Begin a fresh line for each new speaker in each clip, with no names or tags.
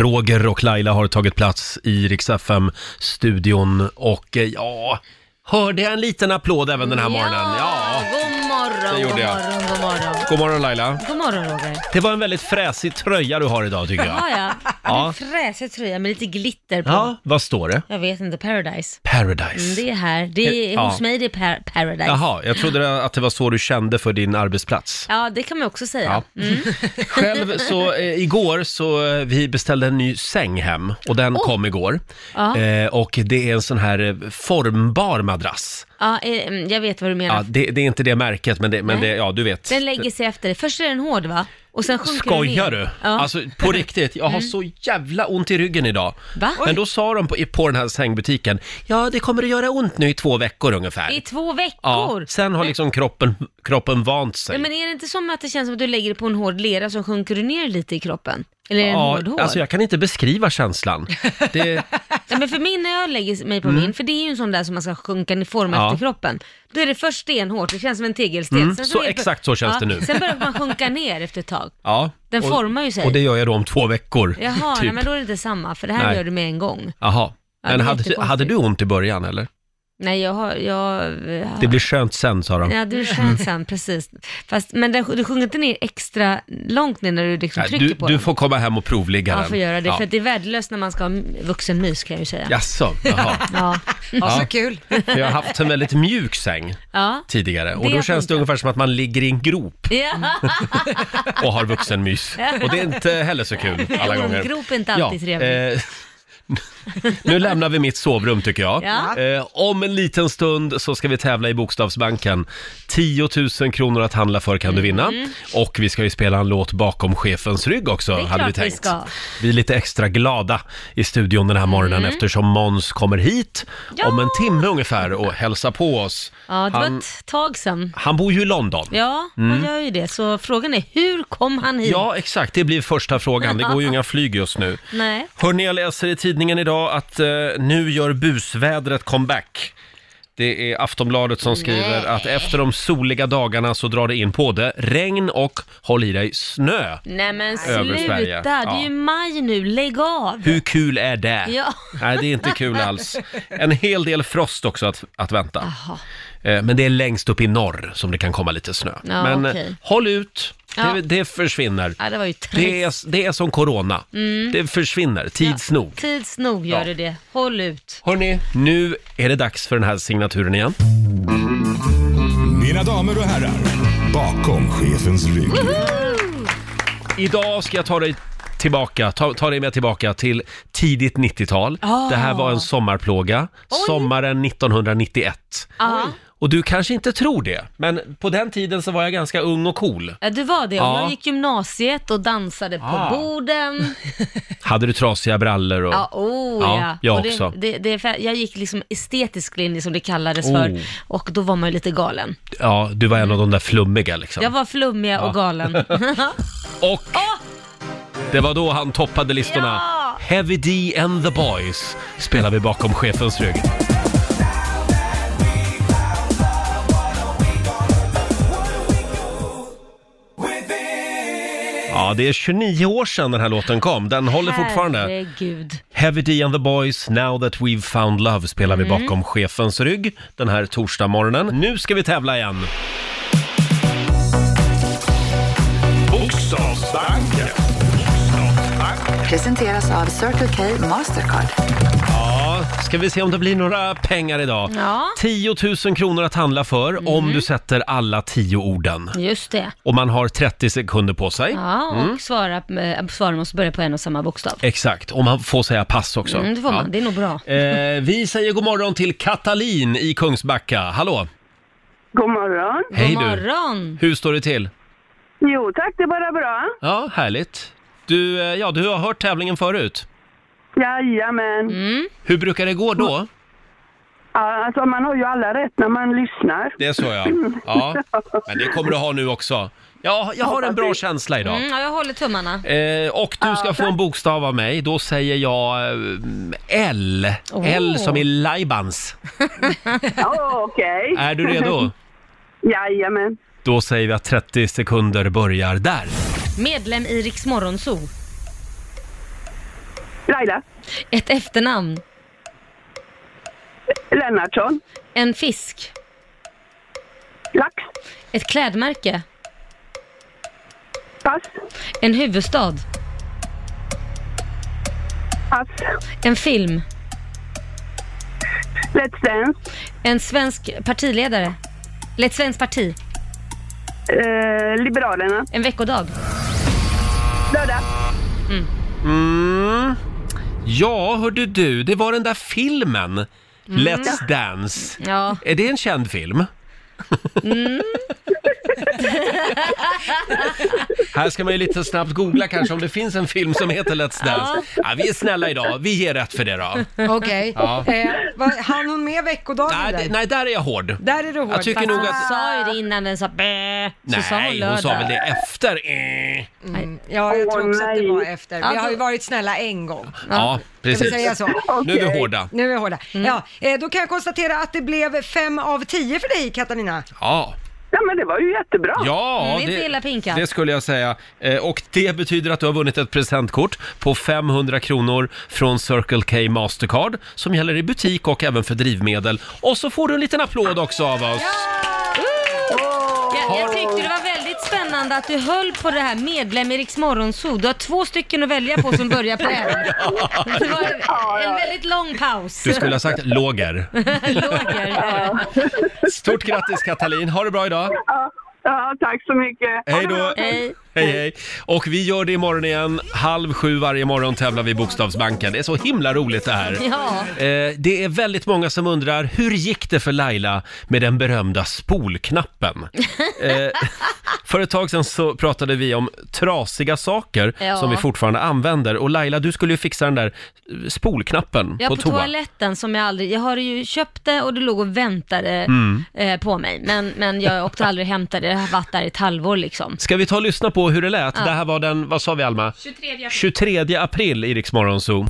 Roger och Laila har tagit plats i Rix FM-studion och eh, ja, hörde jag en liten applåd även den här morgonen? Ja!
God morgon,
Det gjorde
god
jag.
morgon, god morgon.
God morgon Laila!
God morgon Roger.
Det var en väldigt fräsig tröja du har idag tycker jag.
Har jag?
Ja.
En fräsig tröja med lite glitter på.
Ja, vad står det?
Jag vet inte, Paradise. Mm,
Paradise.
det är här, det är,
Ja.
hos mig det är par- Paradise.
Jaha, jag trodde att det var så du kände för din arbetsplats.
Ja, det kan man också säga.
Ja. Själv så, eh, igår så, eh, vi beställde en ny säng hem och den kom igår.
Ja.
Eh, och det är en sån här eh, formbar madrass.
Ja, eh, mm, jag vet vad du menar.
Ja, det, det är inte det märket, men, det, men det, ja, du vet.
Den lägger sig efter dig. Först är den hård va? Och sen sjunker
Skojar
den
du?
ner.
Alltså på riktigt, jag har så jävla ont i ryggen idag.
Mm. Va?
Men då sa de på, på den här sängbutiken, ja det kommer att göra ont nu i två veckor ungefär.
I två
Ja,
veckor?
sen har liksom kroppen, kroppen vant sig.
Ja, men är det inte som att det känns som att du lägger det på en hård lera så sjunker du ner lite i kroppen? Eller är det en hård hår?
alltså jag kan inte beskriva känslan. Det,
Ja, men för min när jag lägger mig på min, för det är ju en sån där som man ska sjunka i form
Mm. Ja.
efter kroppen. Då är det först stenhårt, det känns som en tegelsten.
Mm, så
är det-
exakt så känns det nu.
Sen börjar man sjunka ner efter ett tag.
ja.
Den
Och-
formar ju sig.
Och det gör jag då om två veckor.
Jaha,
typ.
nej, men då är det inte samma, för det här
Nej.
gör du med en gång.
Jaha.
Ja,
Men
det är
hade,
jättekonstigt.
hade du ont i början eller?
Nej, jag har... Jag, jag,
Det blir skönt sen sa de.
Ja, du känns sen, precis. Fast, men den, du sjunker inte ner extra långt ner när du liksom
Nej,
trycker
Du,
på
du
den.
får komma hem och provligga
Ja,
den.
får göra det, för att det är värdelöst när man ska ha vuxenmys kan jag ju säga.
Jaså, jaha.
Ja.
Ja,
Ja.
så kul.
För jag har haft en väldigt mjuk säng
Ja.
tidigare och
Det
då känns det
funkar.
ungefär som att man ligger i en grop
ja.
och har vuxenmys. Och det är inte heller så kul alla gånger.
Ormgrop är inte alltid trevligt.
eh, nu lämnar vi mitt sovrum tycker jag.
Ja.
Eh, om en liten stund så ska vi tävla i Bokstavsbanken. 10 000 kronor att handla för kan du vinna. Och vi ska ju spela en låt bakom chefens rygg också,
Mm. Det är
hade vi
klart vi
tänkt.
ska.
Vi är lite extra glada i studion den här morgonen eftersom Måns kommer hit
Mm. Ja.
om en timme ungefär och hälsar på oss.
Ja, det var
han,
ett tag sedan.
han bor ju i London.
Ja, han gör ju det. Så frågan är, hur kom han hit?
Mm. Ja, exakt. Det blir första frågan. Det går ju inga flyg just nu.
Nej.
Hörrni, jag läser i tidningen idag att eh, nu gör busvädret comeback. Det är Aftonbladet som skriver att efter de soliga dagarna så drar det in både regn och, håll i dig, snö.
Nej men
Över
sluta,
Sverige.
det är
Ja.
ju maj nu, lägg av!
Hur kul är det?
Ja.
Nej, det är inte kul alls. En hel del frost också att, att vänta. Eh, Men det är längst upp i norr som det kan komma lite snö.
Ja,
Men eh,
okej.
håll ut, det,
Ja.
det försvinner.
Ja, det var ju
Det
trist. Mm.
är, det är som corona. Det försvinner, tids nog.
Tids nog gör
Ja.
det det. Håll ut.
Hörni, nu är det dags för den här signaturen igen.
Mina damer och herrar, bakom chefens rygg.
Idag ska jag ta dig tillbaka, ta, ta dig med tillbaka till tidigt 90-tal.
Ah.
Det här var en sommarplåga, sommaren 1991.
Ja.
Och du kanske inte tror det, men på den tiden så var jag ganska ung och cool.
ja, det var det.
Ja.
Jag gick gymnasiet och dansade på
Ah.
borden.
Hade du trasiga brallor och...
Ja, oh
Ja,
ja.
jag
Och det,
också.
Det, det, är för- jag gick liksom estetisk linje som det kallades
Oh.
för och då var man ju lite galen.
Ja, du var en av de där flummiga liksom.
Jag var flummiga och galen.
Och det var då han toppade listorna.
Ja!
Heavy D and the Boys spelar vi bakom chefens rygg. Ja, det är 29 år sedan den här låten kom. Den håller fortfarande.
Herregud.
Heavy D and the Boys, Now That We've Found Love spelar vi
Mm.
bakom chefens rygg den här torsdagmorgonen. Nu ska vi tävla igen.
Bokstavsbanken.
Presenteras av Circle K Mastercard.
Ja, ska vi se om det blir några pengar idag.
Ja.
10
Mm.
000 kronor att handla för om du sätter alla tio orden.
Just det.
Och man har 30 sekunder på sig.
Ja, och
Mm.
svara, eh, svaren måste börja på en och samma bokstav.
Exakt, och man får säga pass också.
Mm, det får
Ja.
man, det är nog bra.
Eh, vi säger god morgon till Katalin i Kungsbacka. Hallå!
God morgon.
Hej
God
du!
morgon!
Hur står det till?
Jo tack, det är bara bra.
Ja, härligt. Du, eh, ja, du har hört tävlingen förut.
Jajamän.
Mm. Hur brukar det gå då?
Ja, alltså, man har ju alla rätt när man lyssnar.
Det är så ja. ja. Men det kommer du ha nu också. Ja, jag har en bra känsla idag.
Mm, ja, jag håller tummarna.
Eh, och du ska få en bokstav av mig. Då säger jag eh, L.
Åh.
L som i Laibans.
Ja, Okej.
Är du redo?
Jajamän.
Då säger vi att 30 sekunder börjar där.
Medlem i Riks Morgonzoo.
Laila
Ett efternamn.
Lennartsson.
En fisk.
Lax.
Ett klädmärke.
Pass.
En huvudstad.
Pass.
En film.
Let's Dance.
En svensk partiledare. Eller ett svenskt parti.
Eh, Liberalerna.
En veckodag.
Lördag.
Mm. Ja, hörde du, det var den där filmen.
Mm.
Let's Dance.
Ja.
Är det en känd film?
Mm.
Här ska man ju lite snabbt googla kanske om det finns en film som heter Let's Dance. Ja, vi är snälla idag, vi ger rätt för det då.
Okej.
Ja.
Eh, vad- hann hon med veckodagen
Nej,
där?
det, nej där är jag hård.
Där är du hård.
Jag tycker nog
Hon
att...
sa ju det innan den sa bä. Så sa hon
Nej, hon sa
lördag.
väl det efter. Eh.
Mm. Alltså, Ja, jag tror också att det var efter. Vi
Alltså-
har ju varit snälla en gång.
Ja,
Ska vi
precis. Mm.
säga så?
Nu är vi hårda.
Nu är vi hårda. Ja, eh, då kan jag konstatera att det blev fem av tio för dig Katarina.
Ja.
Ja, men det var ju jättebra.
Ja,
Mm, inte illa pinkat.
det skulle jag säga. Eh, Och det betyder att du har vunnit ett presentkort på 500 kronor från Circle K Mastercard som gäller i butik och även för drivmedel. Och så får du en liten applåd också av oss.
Jag, jag tyckte det var väldigt spännande att du höll på det här medlem i Riks Morgonzoo. Du har två stycken att välja på som börjar på N. Det var en väldigt lång paus.
Du skulle ha sagt låger.
Låger.
Stort grattis Katalin, ha det bra idag.
Ja, ja tack så mycket.
Hej då!
Hej.
Hej, hej. Och vi gör det imorgon igen. Halv sju varje morgon tävlar vi i Bokstavsbanken. Det är så himla roligt det här.
Ja.
Eh, det är väldigt många som undrar, hur gick det för Laila med den berömda spolknappen? Eh, för ett tag sedan så pratade vi om trasiga saker
Ja.
som vi fortfarande använder. Och Laila, du skulle ju fixa den där eh, spolknappen
Jag
på,
på,
toa.
toaletten som jag aldrig, jag har ju köpt det och det låg och väntade
Mm.
eh, på mig. Men, men jag åkte aldrig och hämtade det, det har varit där i ett halvår liksom.
Ska vi ta och lyssna på hur det lät? Det här var den, vad sa vi Alma? 23 april, i Rix Morgon Zoo.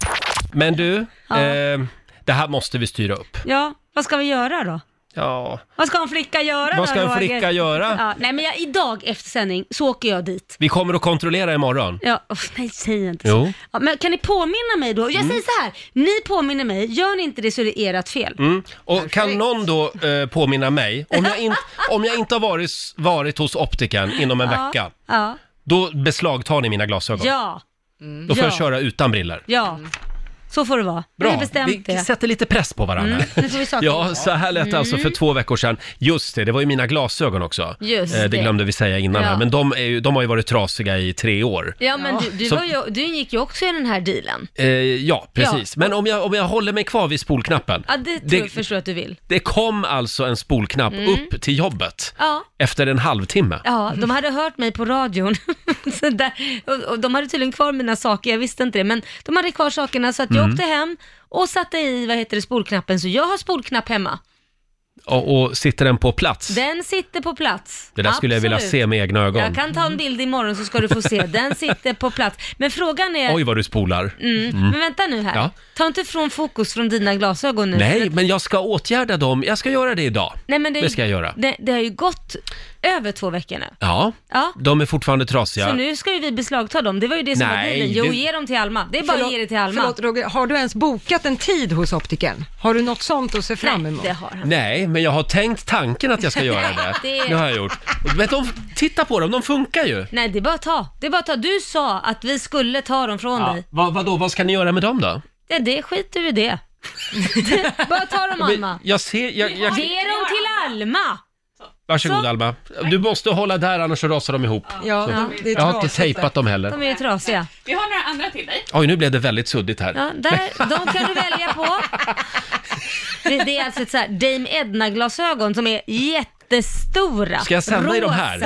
Men du, eh, det här måste vi styra upp.
Ja, vad ska vi göra då?
Ja,
Vad ska en flicka göra då
vad ska en
Roger?
flicka göra?
Ja, nej men jag, idag efter sändning så åker jag dit.
Vi kommer att kontrollera imorgon.
Ja, oh, nej säg inte
Jo.
så. Ja, men kan ni påminna mig då? Jag
Mm.
säger så här, ni påminner mig, gör ni inte det så är det ert fel.
Mm. Och kan någon då eh, påminna mig, om jag, in, om jag inte har varit, varit hos optikern inom en vecka,
Ja,
då beslagtar ni mina glasögon.
ja,
då får jag
ja.
köra utan briller.
ja. Så får det vara. Vi har
Mm. Bra,
bestämt
vi
det. Mm.
sätter lite press på varandra.
Nu får vi saker.
Ja, så här lät det alltså för två veckor sedan. Just det, det var ju mina glasögon också.
Just
Eh, det
det.
glömde vi säga innan
Ja.
här, men de, är ju, de har ju varit trasiga i tre år.
Ja men du, du,
Så-
var ju, du gick ju också i den här dealen.
Eh, ja, precis. Men om jag, om jag håller mig kvar vid spolknappen.
Ja det tror jag förstår att du vill.
det kom alltså en spolknapp upp till jobbet
Ja.
efter en halvtimme.
Ja, de hade hört mig på radion. så där, och, och de hade tydligen kvar mina saker, jag visste inte det. Men de hade kvar sakerna så att
Mm.
jag åkte hem och satte i, vad heter det, spolknappen. Så jag har spolknapp hemma.
Och, och sitter den på plats?
Den sitter på plats.
Det där skulle jag vilja
Absolut.
se med egna ögon.
Jag kan ta en bild imorgon så ska du få se. Den sitter på plats. Men frågan är...
Oj, vad du spolar.
Mm, Men vänta nu här.
Ja.
Ta inte från fokus från dina glasögon nu.
Nej, men jag ska åtgärda dem. Jag ska göra det idag.
Nej, men det, är ju-
Det ska jag göra.
Det, det har ju gått över två veckor nu.
Ja,
Ja.
de är fortfarande trasiga.
Så nu ska ju vi beslagta dem. Det var ju det som
Nej,
var dealen. Jo,
det-
ge dem till Alma. Det är bara att ge det till Alma.
förlåt Roger, har du ens bokat en tid hos optikern? Har du något sånt att se fram emot?
Nej, det har han.
Nej, men jag har tänkt tanken att jag ska göra det.
det-
Det har jag gjort. Men de, titta på dem, de funkar ju.
Nej, det är bara att ta. Det är bara att ta. Du sa att vi skulle ta dem från
Ja,
dig.
vad, vadå, vad ska ni göra med dem då?
Ja, det skiter du i det. bara ta dem, Alma.
Jag ser, jag, jag,
Ge dem till Alma!
varsågod
Så.
Alma. Du måste hålla där annars så rasar de ihop.
Ja,
Ja.
det är
Jag har inte
trasigt
tejpat dem heller.
De är ju trasiga.
Vi har några andra till dig.
Oj, nu blev det väldigt suddigt här.
Ja, där, de kan du välja på. Det, det är alltså ett så här Dame Edna-glasögon som är jättestora.
Ska jag sända i de här?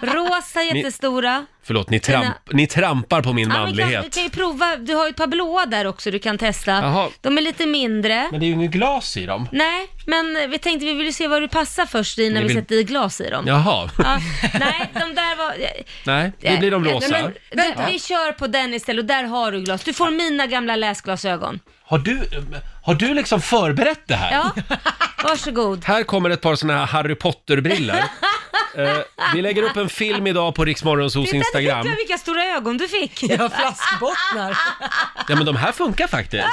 Rosa, Rosa jättestora.
Förlåt, ni, tramp, ni trampar på min
Ja, men kan, du
manlighet.
kan ju prova, du har ju ett par blåa där också du kan testa.
Jaha.
De är lite mindre.
Men det är ju inget glas i dem.
Nej, men vi tänkte vi ville se vad du passar först i när
Ni
vi
vill-
sätter i glas i dem.
Jaha.
Ja, nej, de där var...
Nej, det blir de
Nej,
rosa.
men du, vi kör på den istället och där har du glas. Du får mina gamla läsglasögon.
Har du, har du liksom förberett det här?
Ja, varsågod.
Här kommer ett par såna här Harry Potter-briller. Eh, vi lägger upp en film idag på Riksmorgonsos
Titta, titta
Instagram.
vilka stora ögon du fick!
Jag har flaskbottnar.
Ja, men de här funkar faktiskt.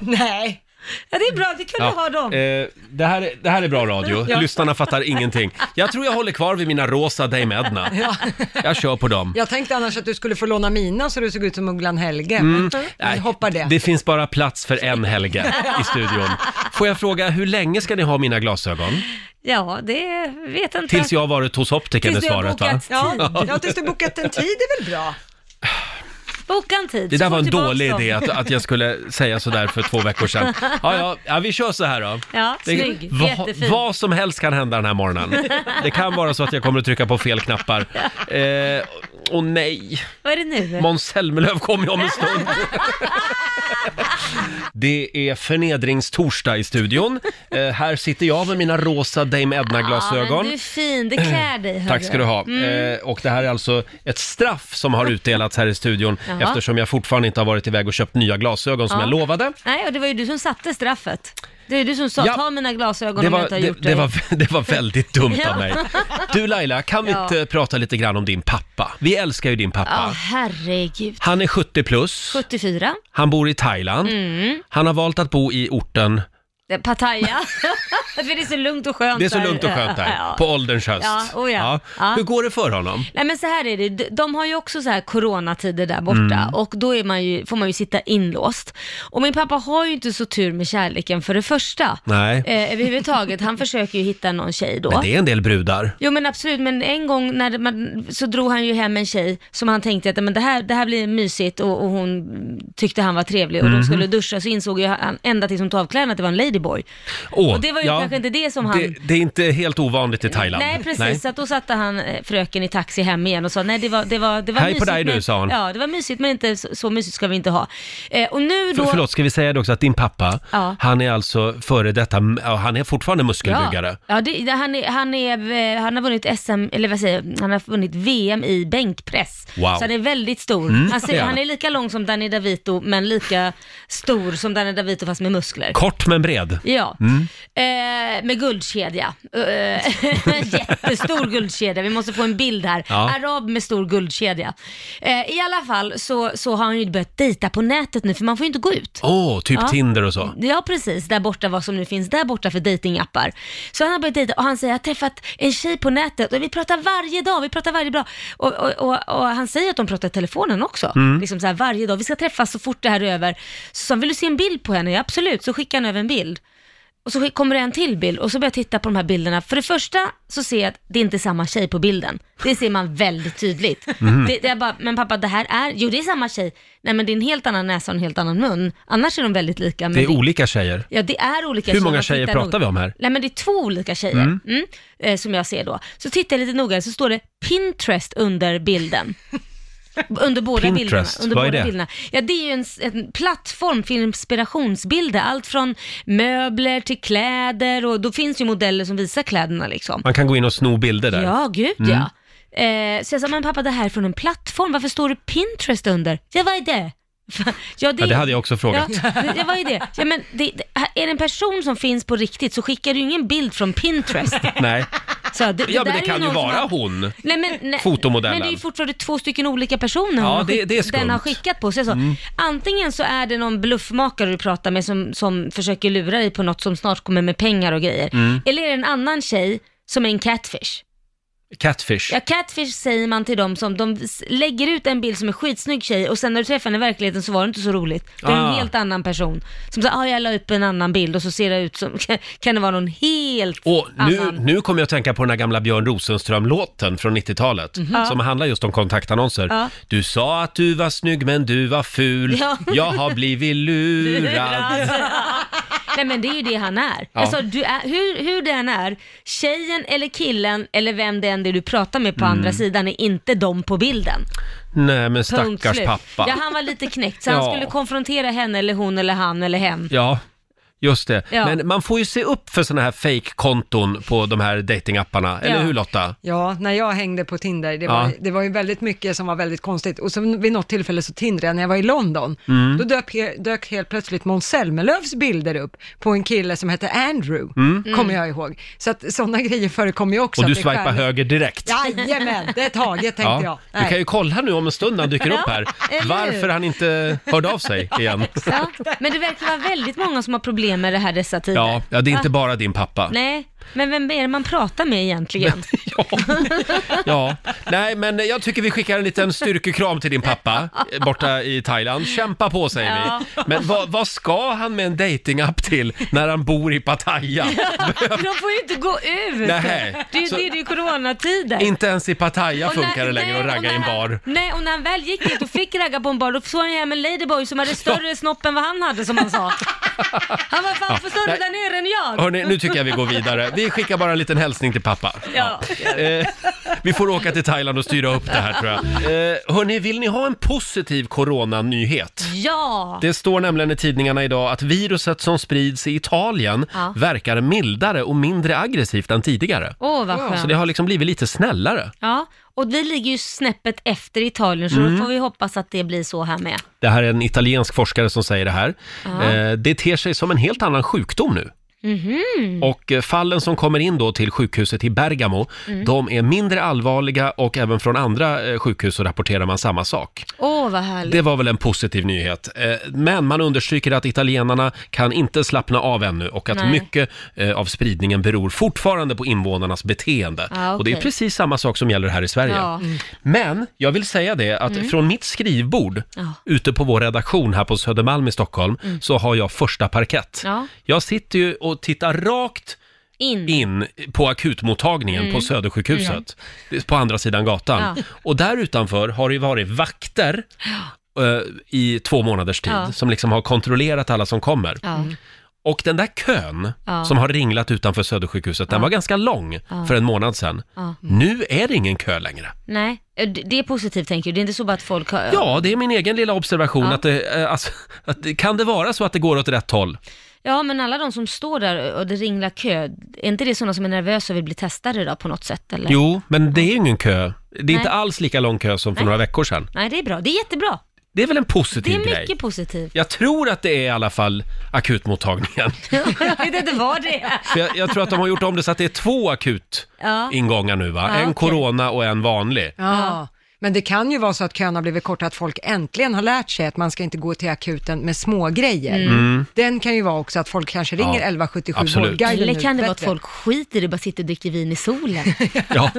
Nej.
Ja, det är bra, det kan du ha dem.
eh, det, här, är- det här är bra radio.
Ja.
Lyssnarna fattar ingenting. Jag tror jag håller kvar vid mina rosa Dame Edna.
Ja.
Jag kör på dem.
Jag tänkte annars att du skulle få låna mina så du såg ut som Ugglan Helge. Men
Mm. Nej,
vi hoppar det.
Det finns bara plats för en Helge i studion. Får jag fråga, hur länge ska ni ha mina glasögon?
Ja, det vet inte.
Tills jag har varit hos optikern är
Tills du har
svaret va?
bokat.
Ja, ja, tills du bokat en tid är väl bra.
Boka en tid.
Det
så
där
får
var en
vi tillbaka
dålig
dem.
idé att, att jag skulle säga sådär för två veckor sedan. Ja, ja, ja vi kör så här då.
Ja,
Det-
snygg.
va-
Jättefin.
vad som helst kan hända den här morgonen. Det kan vara så att jag kommer att trycka på fel knappar. Eh, och nej,
Vad är det nu?
Måns Zelmerlöw kommer ju om en stund. Det är förnedringstorsdag i studion. Eh, här sitter jag med mina rosa Dame
Ja,
Edna-glasögon.
men du är fin, det Mm. klär dig. hörru.
Mm. Tack ska du ha. Eh, och det här är alltså ett straff som har utdelats här i studion
Jaha.
eftersom jag fortfarande inte har varit iväg och köpt nya glasögon som
Ja.
jag lovade.
Nej, och det var ju du som satte straffet. Det är du som sa,
Ja.
ta mina glasögon
Det
om jag
var,
inte har
det,
gjort det.
det, var, det var väldigt dumt
Ja.
av mig. Du Laila, kan vi
Ja.
inte prata lite grann om din pappa? Vi älskar ju din
Ja,
pappa.
herregud.
Han är 70 plus,
74,
han bor i Thailand,
Mm.
han har valt att bo i orten,
Det är Pattaya. För det är så lugnt och skönt
det är så
där.
lugnt och skönt där,
Ja.
på ålderns höst.
Ja, oh ja. Ja.
Hur går det för honom?
Nej men så här är det, De- de har ju också så här coronatider där borta
Mm.
och då är man ju, får man ju sitta inlåst. Och min pappa har ju inte så tur med kärleken för det första.
Nej.
Eh, överhuvudtaget, han försöker ju hitta någon tjej då.
Men det är en del brudar.
Jo men absolut, men en gång när man, så drog han ju hem en tjej som han tänkte att men det, här, det här blir mysigt och, och hon tyckte han var trevlig och
Mhm.
de skulle duscha så insåg ju han ända tills hon tog av kläderna att det var en ladyboy.
Åh,
Och det var ju kanske inte det som han-
Det, det är inte helt ovanligt i Thailand.
Nej precis, så att då satte han eh, fröken i taxi hem igen och sa nej det var, det var, det var
Hej på
mysigt.
dig du,
men,
sa han.
Ja, det var mysigt men inte så, så mysigt ska vi inte ha. Eh, och nu då...
För, förlåt, ska vi säga det också att din pappa,
Ja.
han är alltså före detta, ja, han är fortfarande muskelbyggare.
Ja, ja det, det- han, är, han, är, eh, han har vunnit SM, eller vad säger jag, han har vunnit VM i bänkpress.
Wow. Mm.
Så han är väldigt stor. han,
det
ser,
är han.
han är lika lång som Danny DeVito, men lika stor som Danny DeVito fast med muskler.
Kort men bred.
Ja,
Mm.
eh, med guldkedja. Eh, jättestor guldkedja, vi måste få en bild här.
Ja.
Arab med stor guldkedja. Eh, I alla fall så, så har han ju börjat dejta på nätet nu, för man får ju inte gå ut.
Åh, typ
Ja. Mm.
Tinder och så.
Ja precis, där borta vad som nu finns där borta för datingappar. Så han har börjat dejta och han säger jag har träffat en tjej på nätet och vi pratar varje dag, vi pratar varje dag. Och, och, och, och han säger att de pratar i telefonen också,
Mm.
liksom så här varje dag. Vi ska träffas så fort det här är över. Så sa han, vill du se en bild på henne? Ja absolut, så skickar han över en bild. Och så skick- kommer det en till bild och så börjar jag titta på de här bilderna. För det första så ser jag att det är inte är samma tjej på bilden. Det ser man väldigt tydligt.
Mhm.
Det, det är bara, men pappa det här är, jo det är samma tjej. Nej men det är en helt annan näsa och en helt annan mun. Annars är de väldigt lika. Men
Det är olika tjejer.
Ja, det är olika
Hur många
Man
tjejer
tittar
pratar
noga.
vi om här?
Nej, men det är två olika tjejer mm. eh, som jag ser då. Så tittar jag lite noga så står det Pinterest under bilden. Under båda
Pinterest,
bilderna. Under
vad är
båda
det?
Bilderna. Ja, det är ju en, s- en plattform för inspirationsbilder. Allt från möbler till kläder och då finns ju modeller som visar kläderna liksom.
Man kan gå in och sno bilder där. Mm.
Ja, gud ja. Eh, så jag sa, men pappa det här är från en plattform, varför står det Pinterest under? Ja, vad är det? Ja,
Ja, det hade jag också frågat.
Ja, det var ju det. Ja, men det, det är det en person som finns på riktigt så skickar du ju ingen bild från Pinterest.
Nej.
Så det,
Ja, men
där
det
är
kan ju
någon som
vara
har-
hon.
Nej, men, nej,
Fotomodellen.
Men det är ju fortfarande två stycken olika personer
Ja,
hon har
det-
skick-
det är skumt. Mm.
den har skickat på. Så jag sa, Antingen så är det någon bluffmakare du pratar med som, som försöker lura dig på något som snart kommer med pengar och grejer.
Mm.
Eller är det en annan tjej som är en catfish.
Catfish.
Ja, catfish säger man till dem som, de s- lägger ut en bild som är skitsnygg tjej och sen när du träffar henne i verkligheten så var det inte så roligt. Det är
Ah.
en helt annan person. Som säger, ah, jag la upp en annan bild och så ser det ut som, kan det vara någon helt
Och nu,
annan.
nu kommer jag att tänka på den här gamla Björn Rosenström-låten från 90-talet, som handlar just om kontaktannonser.
Mhm. Ja.
Du sa att du var snygg men du var ful,
Ja.
jag har blivit lurad.
Nej men det är ju det han är.
Ja.
Alltså, du är hur, hur den är, tjejen eller killen eller vem det än är du pratar med
Mm.
på andra sidan är inte de på bilden.
Nej men
Punkt
stackars
slut.
pappa.
Ja han var lite knäckt så
Ja.
han skulle konfrontera henne eller hon eller han eller hen.
Ja, Just det.
Ja.
Men man får ju se upp för sådana här fake-konton på de här datingapparna. Eller
Ja.
hur Lotta?
Ja, när jag hängde på Tinder, det,
Ja.
var, det var ju väldigt mycket som var väldigt konstigt. Och så vid något tillfälle så tindrade jag när jag var i London.
Mm.
Då dök, he- dök helt plötsligt Måns Zelmerlöws bilder upp på en kille som hette Andrew, kommer jag ihåg. Så att sådana grejer förekommer ju också.
Mm. Och du
att det är
swipar
stjärnor.
höger direkt.
Jajamän, det är taget tänkte jag.
Du kan ju kolla nu om en stund när han dyker upp här.
eller hur?
Varför han inte hörde av sig igen.
Ja. Men det verkar vara väldigt många som har problem med det här dessa tider.
Ja, ja det är inte
Va?
bara din pappa.
Nej, men vem är det man pratar med egentligen?
Ja. ja, nej men jag tycker vi skickar en liten styrkekram till din pappa eh, borta i Thailand. Kämpa på säger
Ja.
vi. Men vad, vad ska han med en datingapp till när han bor i Pattaya?
De får ju inte gå ut!
Nej.
Det är ju
Så-
det, det är ju coronatider.
inte ens i Pattaya
Och när-
funkar det längre
nej,
att
och
ragga
när
i en
han-
bar.
Nej, och när han väl gick dit och fick ragga på en bar, då såg han ju hem en ladyboy som hade större snopp än vad han hade, som han sa. Han var fan för större
nej.
där nere än jag.
Hörrni, nu tycker jag vi går vidare. Vi skickar bara en liten hälsning till pappa.
Ja.
Eh, vi får åka till Thailand och styra upp det här tror jag. Eh, hörni, vill ni ha en positiv coronanyhet?
Ja.
Det står nämligen i tidningarna idag att viruset som sprids i Italien
Ja.
verkar mildare och mindre aggressivt än tidigare.
Åh, vad
Så det
skönt.
har liksom blivit lite snällare.
Ja, och vi ligger ju snäppet efter Italien, så
Mm.
då får vi hoppas att det blir så här med.
Det här är en italiensk forskare som säger det här. Eh, det ter sig som en helt annan sjukdom nu. Och eh, fallen som kommer in då till sjukhuset i Bergamo, de är mindre allvarliga och även från andra eh, sjukhus så rapporterar man samma sak.
Åh, vad härligt.
Det var väl en positiv nyhet. Eh, Men man understryker att italienarna kan inte slappna av ännu och att
Nej.
mycket eh, av spridningen beror fortfarande på invånarnas beteende.
Ah,
Och det är
okej.
precis samma sak som gäller här i Sverige.
Ja. Mm.
Men jag vill säga det att från mitt skrivbord
Ja. Mm.
ute på vår redaktion här på Södermalm i Stockholm så har jag första parkett.
Ja.
Jag sitter ju och tittar rakt
In.
in på akutmottagningen på Södersjukhuset på andra sidan gatan.
Mm. Ja.
Och där utanför har det ju varit vakter eh, i två månaders tid
Ja.
som liksom har kontrollerat alla som kommer.
Ja.
Mm.
Och den där kön
Ja.
som har ringlat utanför Södersjukhuset, den var ganska lång för en månad sedan.
Ja. Mm.
Nu är det ingen kö längre.
Nej, det- det är positivt tänker du. Det är inte så bara att folk har...
Ja, det är min egen lilla observation
Ja.
att, det, eh, alltså, att det- kan det vara så att det går åt rätt håll?
Ja, men alla de som står där och det ringlar kö, är inte det sådana som är nervösa och vill bli testade då på något sätt? Eller?
Jo, men det är ju ingen kö. Det är
Nej.
inte alls lika lång kö som för
Nej.
några veckor sedan.
Nej, det är bra. Det är jättebra.
Det är väl en
Det
positiv
är
grej?
mycket positivt.
Jag tror att det är i alla fall akutmottagningen.
Jag vet inte vad det är.
För jag, jag tror att de har gjort om det så att det är två akut
Ja.
ingångar nu va?
Ja,
en
okej.
corona och en vanlig.
Ja. Men det kan ju vara så att kön har blivit kort, att folk äntligen har lärt sig att man ska inte gå till akuten med små grejer. Den kan ju vara också att folk kanske ringer
Mm. Ja,
1177
absolut.
Vårdguiden
Eller
nu,
kan det vara att
bättre.
folk skiter i att bara sitter och dricker vin i solen
Ja.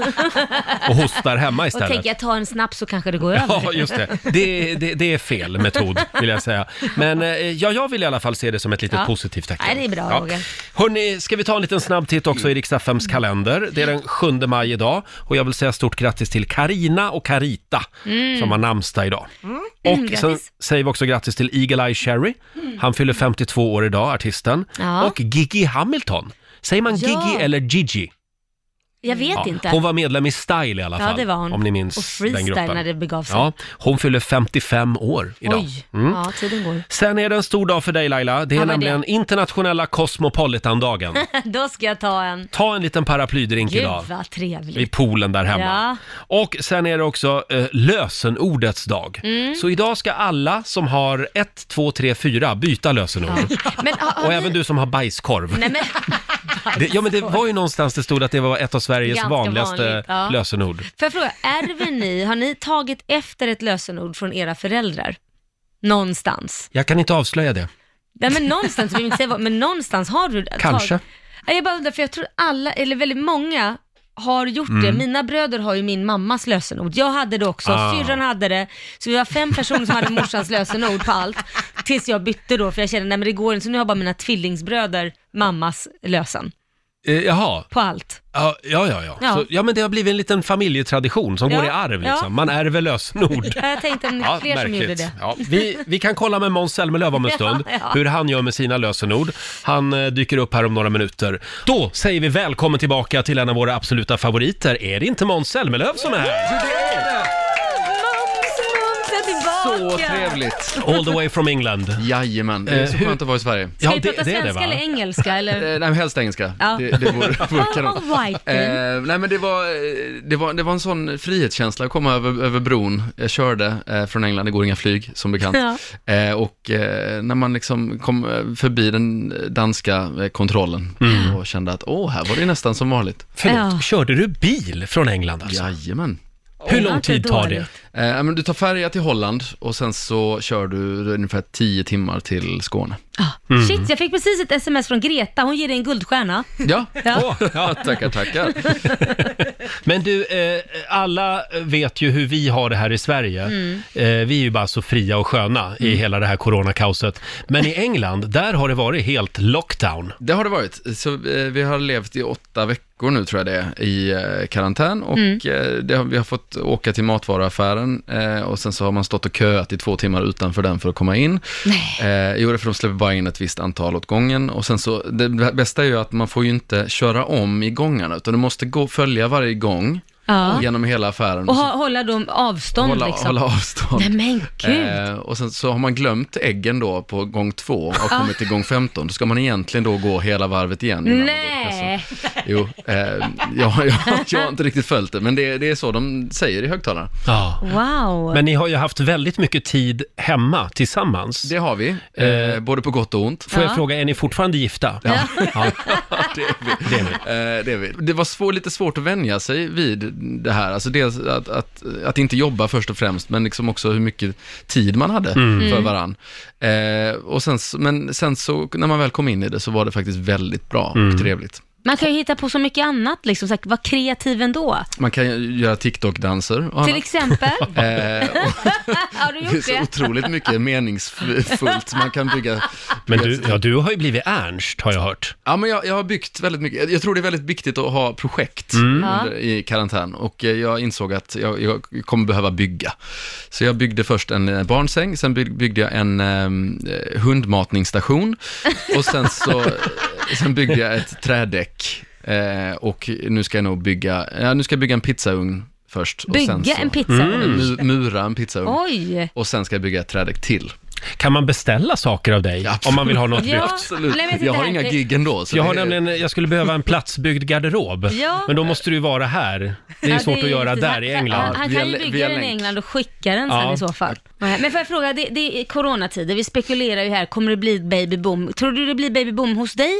Och hostar hemma
och
istället.
tänker jag tar en snaps så kanske det går över?
Ja, just det. Det, det. det är fel metod, vill jag säga. Men eh, ja, jag vill i alla fall se det som ett litet
Ja.
positivt tecken.
Nej, det är bra, Roger.
Hörni, ska vi ta en liten snabb titt också i riks FMs kalender. Det är den 7 maj idag och jag vill säga stort grattis till Karina och Carita som har namnsdag idag. Och sen
Mm. grattis. Mm.
säger vi också grattis till Eagle-Eye Cherry. Han fyller 52 år idag, artisten.
Ja.
Och Gigi Hamilton. Säger man
Ja.
Gigi eller Gigi?
Jag vet
Ja,
inte.
Hon var medlem i Style i alla
Ja,
fall.
det var hon.
Om ni minns
Och
den
freestyle
gruppen.
när det begav sig.
Ja, hon fyller 55 år idag. Mm.
Oj, ja tiden går.
Sen är det en stor dag för dig Laila. Det är
Ja, vad är
nämligen internationella Cosmopolitan-dagen.
Då ska jag ta en.
Ta en liten paraplydrink
Gud
idag
vad trevligt.
vid poolen där hemma.
Ja.
Och sen är det också eh, lösenordets dag.
Mm.
Så idag ska alla som har 1, 2, 3, 4 byta lösenord.
Men, har, har
Och
ni-
även du som har bajskorv.
Nej, men,
Det, ja men det var ju någonstans det stod att det var ett av Sveriges
Ganska
vanligaste
vanligt, ja.
lösenord.
Får jag fråga, ärver ni, har ni tagit efter ett lösenord från era föräldrar? Någonstans?
Jag kan inte avslöja det.
Nej men någonstans, vi vill inte säga vad, men någonstans har du tag-
Kanske.
Nej, Jag bara undrar, för jag tror alla, eller väldigt många, har gjort det. Mina bröder har ju min mammas lösenord. Jag hade det också,
Mm. Ah.
syrran hade det. Så vi var fem personer som hade morsans lösenord på allt. Tills jag bytte då, för jag kände, nej men det går inte. Så nu har bara mina tvillingsbröder mammas lösen
Eh, jaha,
på allt.
Ja, ja, ja. Ja.
Ja.
Så, ja, men det har blivit en liten familjetradition som
Ja,
går i arv liksom.
ja.
Man ärver lösenord.
Ja, Jag tänkte om det är
Ja,
fler som gjorde det.
Ja, vi, vi kan kolla med Måns Zelmerlöw om en stund,
Ja, ja.
hur han gör med sina lösenord. Han eh, dyker upp här om några minuter. Då säger vi välkommen tillbaka till en av våra absoluta favoriter. Är det inte Måns Zelmerlöw som är här?
Mums, mums, jag är tillbaka!
Så trevligt!
All the way from England.
Jajamän, det är så
Eh, hur-
skönt att vara i Sverige.
Ska
Ja,
vi
det,
prata
det är det
svenska
va?
eller engelska? Eller?
Eh, nej, helst engelska.
Ja.
Det, det vore, vore kanon.
All right,
Eh,
then.
nej men det var, eh, det, var, det var en sån frihetskänsla att komma över, över bron. Jag körde eh, från England, det går inga flyg som bekant.
Ja.
Eh, och eh, när man liksom kom eh, förbi den danska eh, kontrollen och kände att åh, här var det nästan som vanligt.
Förlåt,
Ja.
körde du bil från England alltså?
Jajamän.
Hur
Det var
lång
inte
tid tar det?
dåligt.
Eh, ja, men du tar färja till Holland och sen så kör du ungefär 10 timmar till Skåne.
Ah,
Mm.
Shit, jag fick precis ett sms från Greta. Hon ger dig en guldstjärna.
Ja,
Ja.
ja tackar, tackar.
Men du, eh, alla vet ju hur vi har det här i Sverige. Eh, vi är ju bara så fria och sköna i hela det här coronakaoset. Men i England, där har det varit helt lockdown.
Det har det varit. Så, eh, vi har levt i åtta veckor nu tror jag det är, i eh, karantän och
Mm.
eh, det, har- vi har fått åka till matvaruaffären eh, och sen så har man stått och köat i två timmar utanför den för att komma in. Nej. Eh, jo, det är för de släpper bara in ett visst antal åt gången och sen så, det bästa är ju att man får ju inte köra om i gångarna utan du måste gå, följa varje gång
Ja.
genom hela affären.
Och
så
ha, hålla dem avstånd
hålla,
liksom.
hålla avstånd.
Nej men gud.
Eh, och sen så har man glömt äggen då på gång två och kommit till gång 15. Då ska man egentligen då gå hela varvet igen. innan man går till kassan.
Nej.
Jo, eh, jag, jag, jag har inte riktigt följt det, men det, det är så de säger i högtalarna.
Ja.
Wow.
Men ni har ju haft väldigt mycket tid hemma tillsammans.
Det har vi, eh, både på gott och ont.
Får jag
Ja.
fråga, är ni fortfarande gifta? Ja.
det, är vi.
Det är ni.
Eh, det, är vi. det var svår, lite svårt att vänja sig vid det här, alltså dels att, att, att inte jobba först och främst, men liksom också hur mycket tid man hade för varann. Eh, och sen, s- men sen så, när man väl kom in i det, så var det faktiskt väldigt bra och trevligt.
Man kan ju hitta på så mycket annat liksom. Så här, var kreativ ändå.
Man kan ju göra TikTok-danser och
Till
annat.
exempel.
Eh, och
har du
det är
gjort
så
det?
otroligt mycket meningsfullt man kan bygga.
Men du, ja, du har ju blivit Ernst, har jag hört.
Ja, men jag, jag har byggt väldigt mycket. Jag tror det är väldigt viktigt att ha projekt
Mm.
under, i karantän och eh, jag insåg att jag, jag kommer behöva bygga. Så jag byggde först en eh, barnsäng, sen byg- byggde jag en eh, hundmatningsstation och sen så eh, sen byggde jag ett trädäck eh, och nu ska jag nog bygga, ja, nu ska jag bygga en pizzaugn först. Och sen
Bygga
så,
en pizza.
Mm.
Mu- mura en pizzaugn.
Oj.
Och sen ska jag bygga ett trädäck till.
Kan man beställa saker av dig
Ja.
om man vill ha något byggt?
Absolut.
Nej, men titta
jag har
här.
inga gig ändå. Så
Jag har
det är-
nämligen, jag skulle behöva en platsbyggd garderob.
Ja.
Men då måste du ju vara här. Det är
Ja,
ju svårt
det
att
ju
göra
inte-
där i England.
Han, han
Via
kan ju
lä-
bygga
via
den i
länk.
England och skicka den sen
Ja.
i så fall. Nej, Men får jag fråga, det, det är coronatider, vi spekulerar ju här, kommer det bli babyboom? Tror du det blir babyboom hos dig?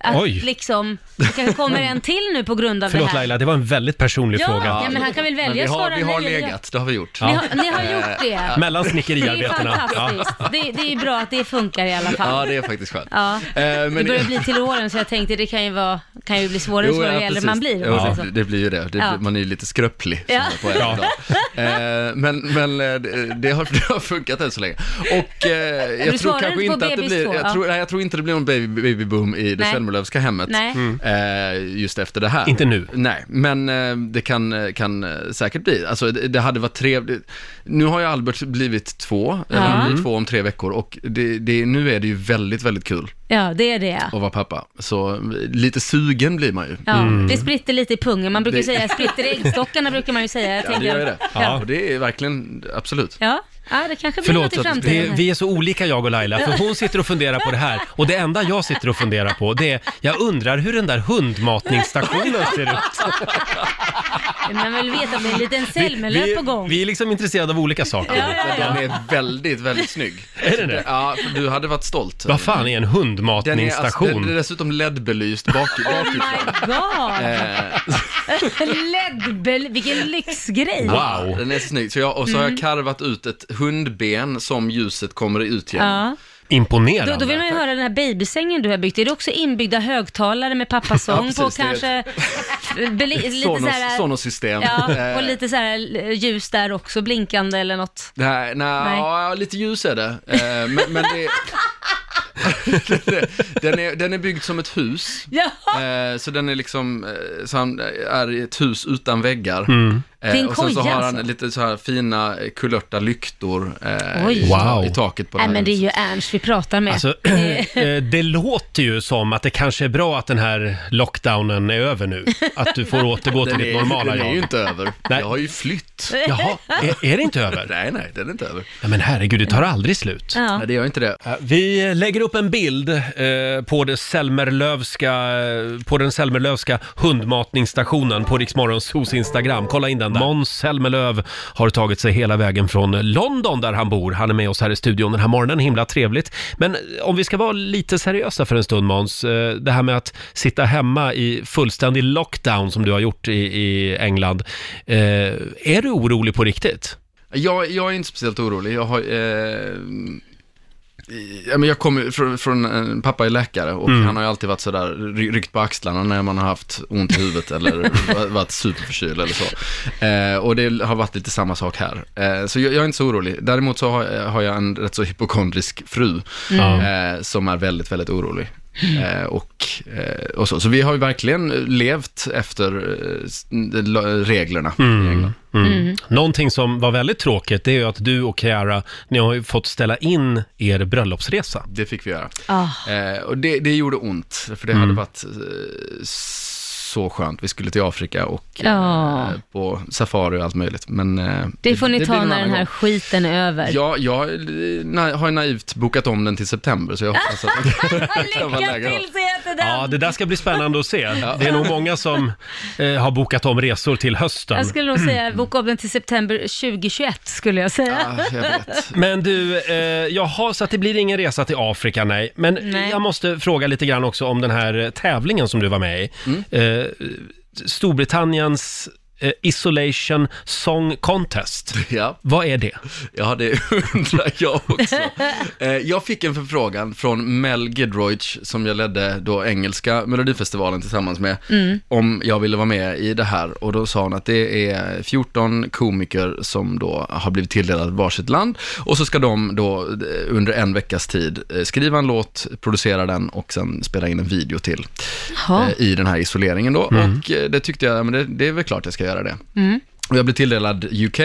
Att
Oj.
liksom, det kanske kommer en till nu på grund av
Förlåt
det här?
Laila, det var en väldigt personlig
Ja,
fråga.
ja, men han kan väl
Men
välja
vi
att
har,
svara
vi har
nej eller ja.
legat, det har vi gjort.
Ni har, ni har gjort det.
Mellan
Det är ju
snickeriarbetarna. Eh, Ja.
fantastiskt. Det, det är ju bra att det funkar i alla fall.
Ja, det är faktiskt skönt.
Ja.
Eh,
Det
men
börjar bli till åren så jag tänkte det kan ju, vara, kan ju bli svårare och
Jo,
svårare
ja,
ju äldre
precis.
man blir.
Jo,
också, så.
det, det blir ju det. det
Ja.
blir- Man är ju lite skröplig. som
Ja.
det På äldre dag. eh, men men eh, det, det, har, det har funkat än så länge. Och eh, jag tror
svarar
kanske
inte på
inte att det
Bebis
blir,
två,
jag
ja.
tror, nej, jag tror inte det blir någon baby, babyboom i det
Nej.
Zelmerlöwska hemmet.
Nej.
Eh, just efter det här.
Mm. Inte nu.
Nej, men eh, det kan, kan eh, säkert bli. Alltså det, det hade varit trevligt. Nu har ju Albert blivit två, eller han
Mm.
blir två om tre veckor och det, det, nu är det ju väldigt, väldigt kul.
Ja, det är det.
och vara pappa. Så eh, lite sugen blir man ju.
Ja, det spritter lite i pungen. Man brukar ju
Mm. Det-
säga spritter i äggstockarna brukar man ju säga. Jag
Ja, det
tänker-
gör ju det.
Ja.
Och det är verkligen, absolut.
Ja, ja det kanske blir
Förlåt,
något i
att det,
framtiden. här.
vi är så olika jag och Laila, för hon sitter och funderar på det här och det enda jag sitter och funderar på det är, jag undrar hur den där hundmatningsstationen ser ut.
Man vill veta att det är en liten
vi,
Zelmerlöw på gång.
vi är liksom intresserade av olika saker.
Ja, ja, ja.
Den är väldigt, väldigt snygg.
Är den det?
Ja, för du hade varit stolt.
Vad fan är en
Den är, alltså,
hundmatningsstation?
den är dessutom LED-belyst bak, bakifrån.
Oh My God!
Eh,
Ledbel, vilken lyxgrej!
Wow.
Den är så snygg. Så jag, och så har
Mm.
jag karvat ut ett hundben som ljuset kommer ut genom.
Ja.
Imponerande.
Då, då vill man ju höra den här babysängen du har byggt. Är det också inbyggda högtalare med
Ja,
pappasång
precis,
på
det är-
kanske... beli- lite så
Sonos,
här,
Sonos-system.
ja,
Eh,
och lite så här eh, ljus där också, blinkande eller något.
Nej, nej,
Nej.
Ja, lite ljus är det. Eh, men, men det... den, är, den är byggd som ett hus.
Jaha!
Mm.
Eh, så den är liksom, eh, så han är i ett hus utan väggar. Eh,
Det är en
och sen så
koja,
har han
alltså.
lite så här fina eh, kulörta lyktor eh,
Oj.
i,
Wow.
i taket på
Nej,
det här
men det är
huset.
ju Ernst vi pratar med.
Alltså, eh, det låter ju som att det kanske är bra att den här lockdownen är över nu. Att du får återgå till
Den
ditt
är-
normala
Den är ju
jag.
inte över.
Nej.
Jag har ju flytt.
Jaha, är, är det inte över?
Nej, nej, den är inte över.
Ja, men herregud, det tar aldrig slut.
ja.
Nej, det gör inte det.
Ja, Eh, Vi lägger upp en bild eh, på, det Selmerlövska, eh, på den Selmerlövska hundmatningsstationen på Riksmorgonsos Instagram. Kolla in den där. Måns Selmerlöv har tagit sig hela vägen från London där han bor. Han är med oss här i studion den här morgonen. Himla trevligt. Men eh, om vi ska vara lite seriösa för en stund Måns. eh, Det här med att sitta hemma i fullständig lockdown som du har gjort i, i England. Eh, Är du orolig på riktigt?
Jag, jag är inte speciellt orolig. Jag har... Eh, Ja, men jag kommer från, från en pappa är läkare och han har ju alltid varit sådär, ry- ryckt på axlarna när man har haft ont i huvudet eller varit superförkyld eller så. Eh, och det har varit lite samma sak här. Eh, så jag, jag är inte så orolig. Däremot så har, har jag en rätt så hypokondrisk fru eh, som är väldigt, väldigt orolig. Eh, och, eh, och så. så vi har ju verkligen levt efter eh, s- reglerna i England.
Mm.
Mm.
Någonting som var väldigt tråkigt det är ju att du och Ciara, ni har ju fått ställa in er bröllopsresa.
Det fick vi göra.
Ah.
Eh, och det, det gjorde ont, för det
Mm.
hade varit eh, så skönt. Vi skulle till Afrika och eh,
Ja.
på safari och allt möjligt. Men, eh,
Det får ni
blir
ta
en
när
annan
den här
gång.
skiten är över.
Ja, jag eh, na- har naivt bokat om den till september, så jag hoppas att...
Lycka till så heter den!
Ja, det där ska bli spännande att se. Det är nog många som eh, har bokat om resor till hösten.
Jag skulle nog säga boka upp den till september 2021 skulle jag säga.
Ah, jag vet.
Men du, eh, jaha, så att det blir ingen resa till Afrika, nej. Men
Nej.
jag måste fråga lite grann också om den här eh, tävlingen som du var med i.
Mm.
Eh, Storbritanniens eh, Isolation Song Contest.
Ja.
Vad är det?
Ja, det undrar jag också. Eh, jag fick en förfrågan från Mel Gidroych, som jag ledde då engelska melodifestivalen tillsammans med, om jag ville vara med i det här. Och då sa hon att det är 14 komiker som då har blivit tilldelade varsitt land. Och så ska de då eh, under en veckas tid eh, skriva en låt, producera den och sen spela in en video till
Jaha.
eh, i den här isoleringen då.
Mm.
Och eh, det tyckte jag, ja, men det, det är väl klart jag ska göra det. Och Jag blev tilldelad UK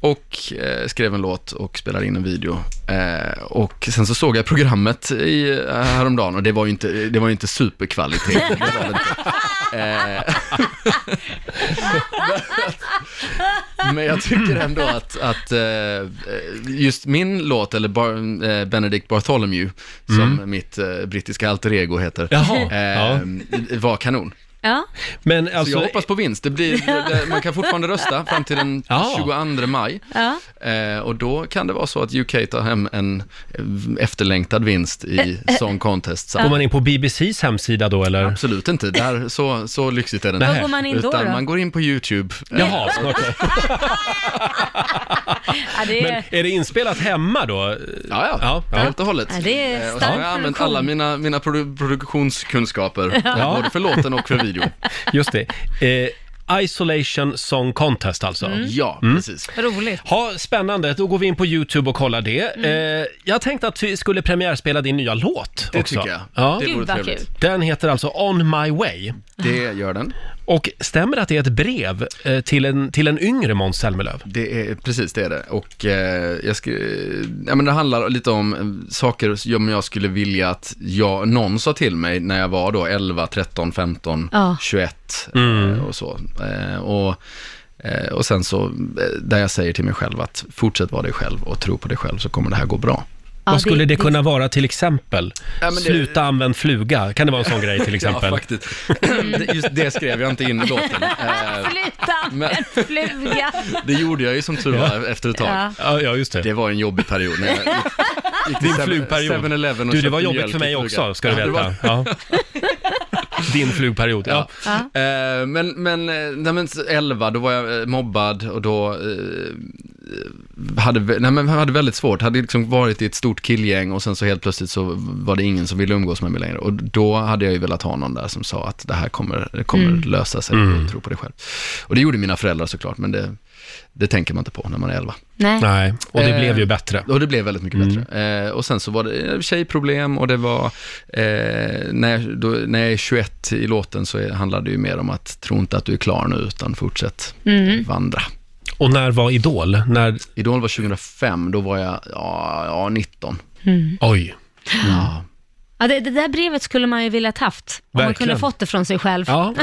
och eh, skrev en låt och spelade in en video. Eh, och sen så såg jag programmet i, eh, häromdagen och det var ju inte, det var ju inte superkvalitet. Det var det inte. Eh, Men jag tycker ändå att, att eh, just min låt, eller Bar, eh, Benedict Bartholomew, som mitt eh, brittiska alter ego heter,
Mm. Jaha. Ja.
eh, var kanon.
Ja.
Men
Så
alltså,
jag hoppas på vinst. Det blir, det, man kan fortfarande rösta fram till den
Ja.
22 maj.
Ja.
Eh, och då kan det vara så att UK tar hem en eh, efterlängtad vinst i Song Contest. Så
går man in på BBCs hemsida då, eller?
Absolut inte, där, så, så lyxigt är det inte.
Var
går man in då,
Utan
då?
man går in på YouTube. Eh,
Jaha, okej.
Ja, det
Men
är...
är det inspelat hemma då?
Ja, ja,
Ja, ja.
helt och hållet.
Ja, det är
Eh, och så
stark
har jag använt
produktion.
alla mina, mina produ- produktionskunskaper, eh, både för låten och för videon.
Mm.
Just det. Eh, Isolation Song Contest alltså.
Ja,
Mm.
precis.
Roligt.
Ha, spännande, då går vi in på YouTube och kollar det. Eh, jag tänkte att vi skulle premiärspela din nya låt
Det
också.
tycker jag.
Ja.
Det vore
Gud vad kul.
trevligt.
Den heter alltså On My Way.
Det gör den.
Och stämmer det att det är ett brev eh, till, en, till en yngre Måns Zelmerlöw?
Det är, precis, det är det. Och eh, jag ska, eh, ja, men det handlar lite om eh, saker som jag skulle vilja att jag, någon sa till mig när jag var då 11, 13, 15,
Ja.
21 eh, och så. Eh, och, eh, och sen så, eh, där jag säger till mig själv att fortsätt vara dig själv och tro på dig själv så kommer det här gå bra.
Ja,
Vad skulle det, kunna vara till exempel?
Ja, men det-
Sluta använda fluga, kan det vara en sån grej till exempel?
Ja, faktiskt. Just det skrev jag inte in i låten. Eh,
Sluta
Men-
med en fluga!
det gjorde jag ju som tur var efter ett tag.
Ja.
Ja, ja, just det.
Det var en jobbig period när jag gick, gick till
Din
7-
flugperiod.
7-Eleven och
Du, det var
köpte
jobbigt
mjölk
för mig
i fluga.
också, ska du
Ja, det var-
veta. Ja. Din flugperiod, ja.
Ja. Eh, men, men, eh, nej, men 11, då var jag eh, mobbad och då eh, hade, vä- nej, men hade väldigt svårt. Hade liksom varit i ett stort killgäng och sen så helt plötsligt så var det ingen som ville umgås med mig längre. Och då hade jag ju velat ha någon där som
Mm.
sa att det här kommer, det kommer lösa sig och tro på det själv. Och det gjorde mina föräldrar såklart, men det, det tänker man inte på när man är 11.
Nej.
Nej, och det
Eh,
blev ju bättre.
Och det blev väldigt mycket bättre. Eh, och sen så var det eh, tjejproblem och det var, eh, när, jag, då, när jag är 21 i låten så är, handlar det ju mer om att tro inte att du är klar nu utan fortsätt vandra.
Och när var Idol? När...
Idol var 2005, då var jag ja, ja, 19.
Oj.
Ja.
Ja, det, det där brevet skulle man ju velat haft. Om man
Verkligen.
kunde fått det från sig själv.
Ja,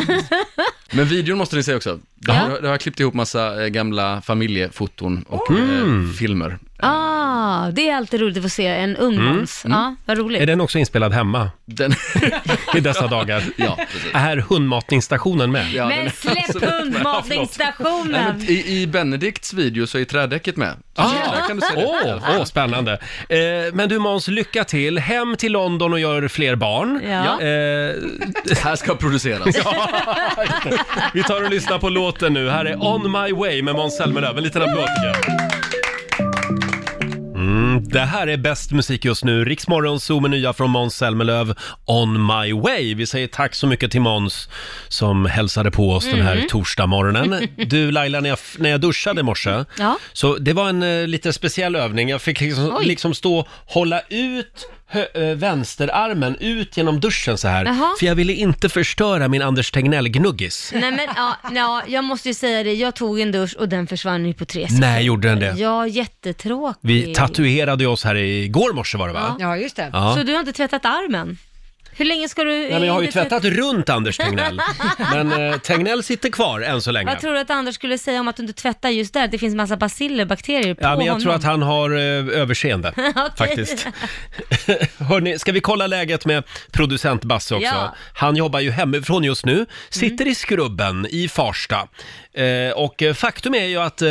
Men videon måste ni se också. Där har, där har jag klippt ihop massa eh, gamla familjefoton och eh, filmer.
Ah, det är alltid roligt att få se en ungdoms. Ja, vad roligt.
Mm. är den också inspelad hemma
Den,
i dessa dagar?
ja, precis.
Är hundmatningsstationen med?
Ja, den
Men
är
släpp
absolut med. Nej, men
hundmatningsstationen!
I, I Benedikts video så är trädäcket med. Så
Ah,
där kan du se det.
Åh, åh, spännande. Eh, men du Måns, lycka till. Hem till London och gör fler barn.
Ja.
Eh,
Det här ska produceras.
vi tar och lyssnar på låten nu. Här är On My Way med Måns Zelmerlöw. En liten applåd tycker jag. Mm, det här är bäst musik just nu. Riksmorgon Zoo med nya från Måns Zelmerlöw, On My Way. Vi säger tack så mycket till Måns som hälsade på oss den
Mm.
här torsdagmorgonen. Du Laila, när jag, när jag duschade i morse,
Ja.
så det var en eh, lite speciell övning. Jag fick liksom,
Oj.
liksom stå och hålla ut hö, eh, vänsterarmen ut genom duschen så här.
Jaha.
För jag ville inte förstöra min Anders Tegnell-gnuggis.
Nej men ja, ja, jag måste ju säga det, jag tog en dusch och den försvann ju på tre sekunder.
Nej, gjorde den det?
Ja, jättetråkig.
Vi tatuerade oss här igår morse var det va?
Ja, just det.
Ja.
Så du har inte tvättat armen? Hur länge ska du...
Nej, men jag har ju
inte tvätta-
tvättat runt Anders Tegnell. Men eh, Tegnell sitter kvar än så länge.
Vad tror du att Anders skulle säga om att du inte tvättar just där? Det finns massa baciller, bakterier på
Ja, men jag
honom.
tror att han har eh, överseende faktiskt. Hörrni, ska vi kolla läget med producent Basse också?
Ja. Mm.
Han jobbar ju hemifrån just nu, sitter i skrubben i Farsta. Eh, och eh, faktum är ju att eh,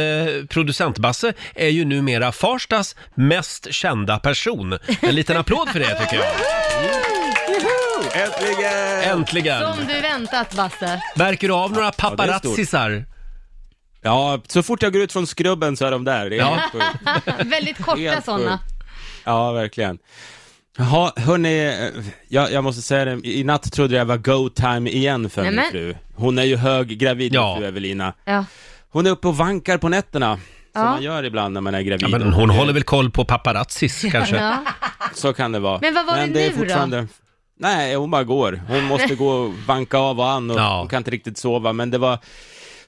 producent Basse är ju numera Farstas mest kända person. En liten applåd för det tycker jag.
Äntligen!
Äntligen!
Som du väntat, Basse.
Märker du av några
det är stort.
paparazzisar?
Ja, så fort jag går ut från skrubben så är de där. Det är helt sjukt.
Väldigt
Helt
korta
sjukt.
sådana.
Ja, verkligen. Jaha, hörni, eh, jag, jag måste säga det, i natt trodde jag var go time igen för
Nej,
min
men-
fru. Hon är ju hög gravid, min
Ja.
fru Evelina.
Ja.
Hon är uppe och vankar på nätterna, som
Ja.
man gör ibland när man är gravid.
Ja, men hon håller väl koll på paparazzis kanske?
Ja.
Så kan det vara.
Men vad var det nu då?
Nej, hon bara går. Hon måste gå och vanka av och an och
Ja.
hon kan inte riktigt sova, men det var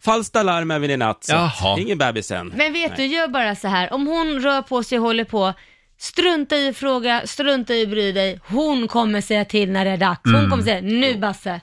falskt alarm även i natt. Så
Jaha.
ingen bebis än.
Men vet du, gör bara så här. Om hon rör på sig och håller på, strunta i att fråga, strunta i att bry dig. Hon kommer säga till när det är dags. Hon
Mm.
kommer säga, nu Basse.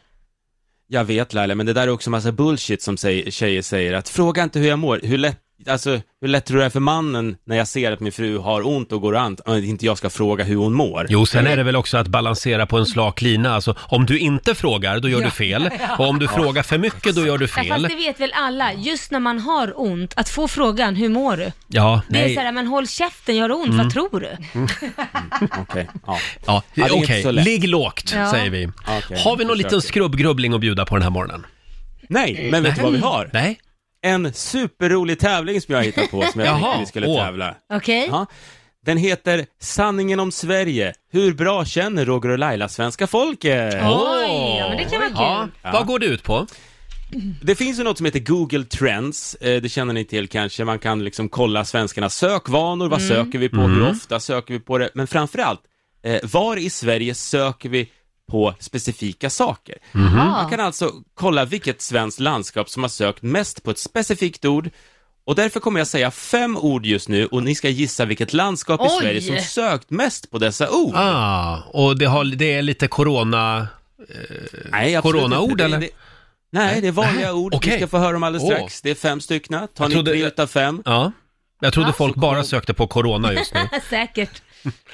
Jag vet Laila, men det där är också massa bullshit som säger, tjejer säger att fråga inte hur jag mår, hur lätt Alltså, hur lätt tror du det är för mannen när jag ser att min fru har ont och går och ant, att inte jag ska fråga hur hon mår?
Jo, sen är det väl också att balansera på en slak lina. Alltså, om du inte frågar, då gör du fel. Och om du frågar för mycket, då gör du
Ja, fast
fel.
det vet väl alla, just när man har ont, att få frågan, hur mår du?
Ja,
Det är så
nej. Mm.
här, men håll käften, jag har ont, vad tror du?
Okej, ja.
Ja,
Ja, det är
Okej,
inte så lätt.
ligg lågt,
Ja.
säger vi.
Okej,
Har vi någon
försöker.
liten skrubbgrubbling att bjuda på den här morgonen?
Nej, men vet du vad vi har?
Nej?
En superrolig tävling som jag har hittat på som jag
Jaha,
tänkte vi skulle
åh.
tävla.
Okej?
Ja. Den heter Sanningen om Sverige. Hur bra känner Roger och Laila svenska folket?
Oj, ja, men det kan vara
Ja,
kul.
vad går det ut på?
Det finns ju något som heter Google Trends, eh, det känner ni till kanske, man kan liksom kolla svenskarnas sökvanor, vad
Mm.
söker vi på, hur ofta söker vi på det, men framförallt, eh, var i Sverige söker vi på specifika saker?
Mm. Mhm.
Man kan alltså kolla vilket svenskt landskap som har sökt mest på ett specifikt ord, och därför kommer jag säga fem ord just nu och ni ska gissa vilket landskap i
Oj!
Sverige som sökt mest på dessa ord.
Ah, och det, har, det är lite corona...
Nej, absolut
Coronaord,
inte. Det-
eller?
Det, nej, det är vanliga
Nej,
ord.
okej.
Vi ska få höra dem alldeles
Åh.
strax. Det är fem stycken. Tar
Jag
ni
trodde-
tre utav fem?
Ja. Jag trodde folk bara sökte på corona just nu.
Säkert.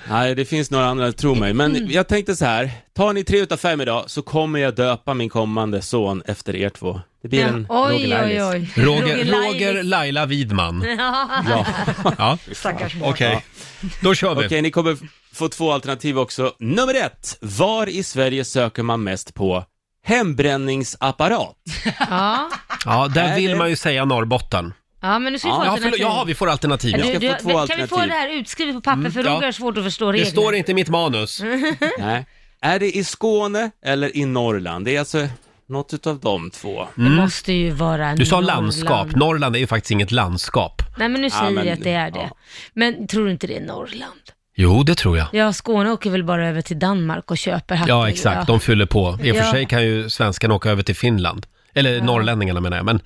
Nej, det finns några andra, tro mig.
Mm.
Men jag tänkte så här. Tar ni tre utav fem idag så kommer jag döpa min kommande son efter er två. Det blir en
Oj,
Roger
oj,
Lailis.
oj.
Roger,
Lailis.
Roger Laila Widman.
Ja.
Ja,
Stackars barn.
okej. Då kör vi.
Okej, ni kommer få två alternativ också. Nummer ett. Var i Sverige söker man mest på hembränningsapparat?
Ja.
Ja, där
Nej,
vill
det-
man ju säga Norrbotten.
ja, men nu ska vi få
Ja, förlåt,
alternativ.
ja, vi får alternativ.
Vi
Du,
ska
du,
få två
kan vi
alternativ.
få det här utskrivet på papper för
Mm, ja.
Roger har svårt att förstå
Det
reglerna. Mm.
står inte i mitt manus.
Nej. Är det i Skåne eller i Norrland? Det är alltså Något utav de två.
Det måste ju vara
Du sa
Norrland.
landskap. Norrland är ju faktiskt inget landskap.
Nej men nu
Ja,
säger
men-
jag att det är det.
ja.
Men tror du inte det är Norrland?
Jo, det tror jag.
Ja, Skåne åker väl bara över till Danmark och köper hattar.
Ja, exakt. De fyller på. I och för
Ja.
sig kan ju svenskarna åka över till Finland. Eller norrlänningarna menar jag, men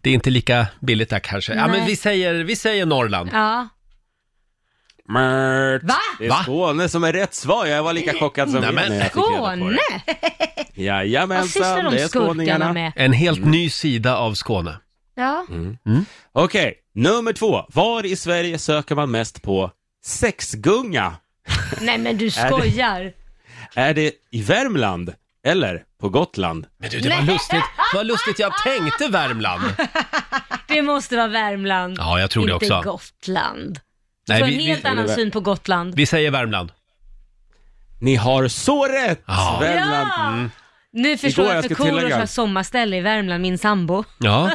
det är inte lika billigt där kanske. Ja,
Nej.
men vi säger, vi säger Norrland.
Ja.
Mert.
Va?
Det är
Va?
Skåne som är rätt svar. Jag var lika chockad som
Nej,
er
men-
när jag fick reda på
Skåne?
det.
Vad sysslar
Jajamensan, det är
de skurkarna
skåningarna.
med?
En helt ny sida av Skåne.
Ja.
Okej, nummer två. Var i Sverige söker man mest på sexgunga?
Nej men du
det-
skojar.
Är det i Värmland eller på Gotland?
Men du, det var lustigt. Det var lustigt. Jag tänkte Värmland.
Det måste vara Värmland.
Ja, jag tror det
inte
också.
Gotland.
Nej,
Nej,
vi-
en
vi-
helt annan syn på Gotland.
Vi säger Värmland.
Ni har så rätt!
Ja.
Värmland. mm.
Ja! Nu förstår
Igår,
jag
jag
för
ska tillägga.
Korosh har sommarställe i Värmland, min sambo.
Ja,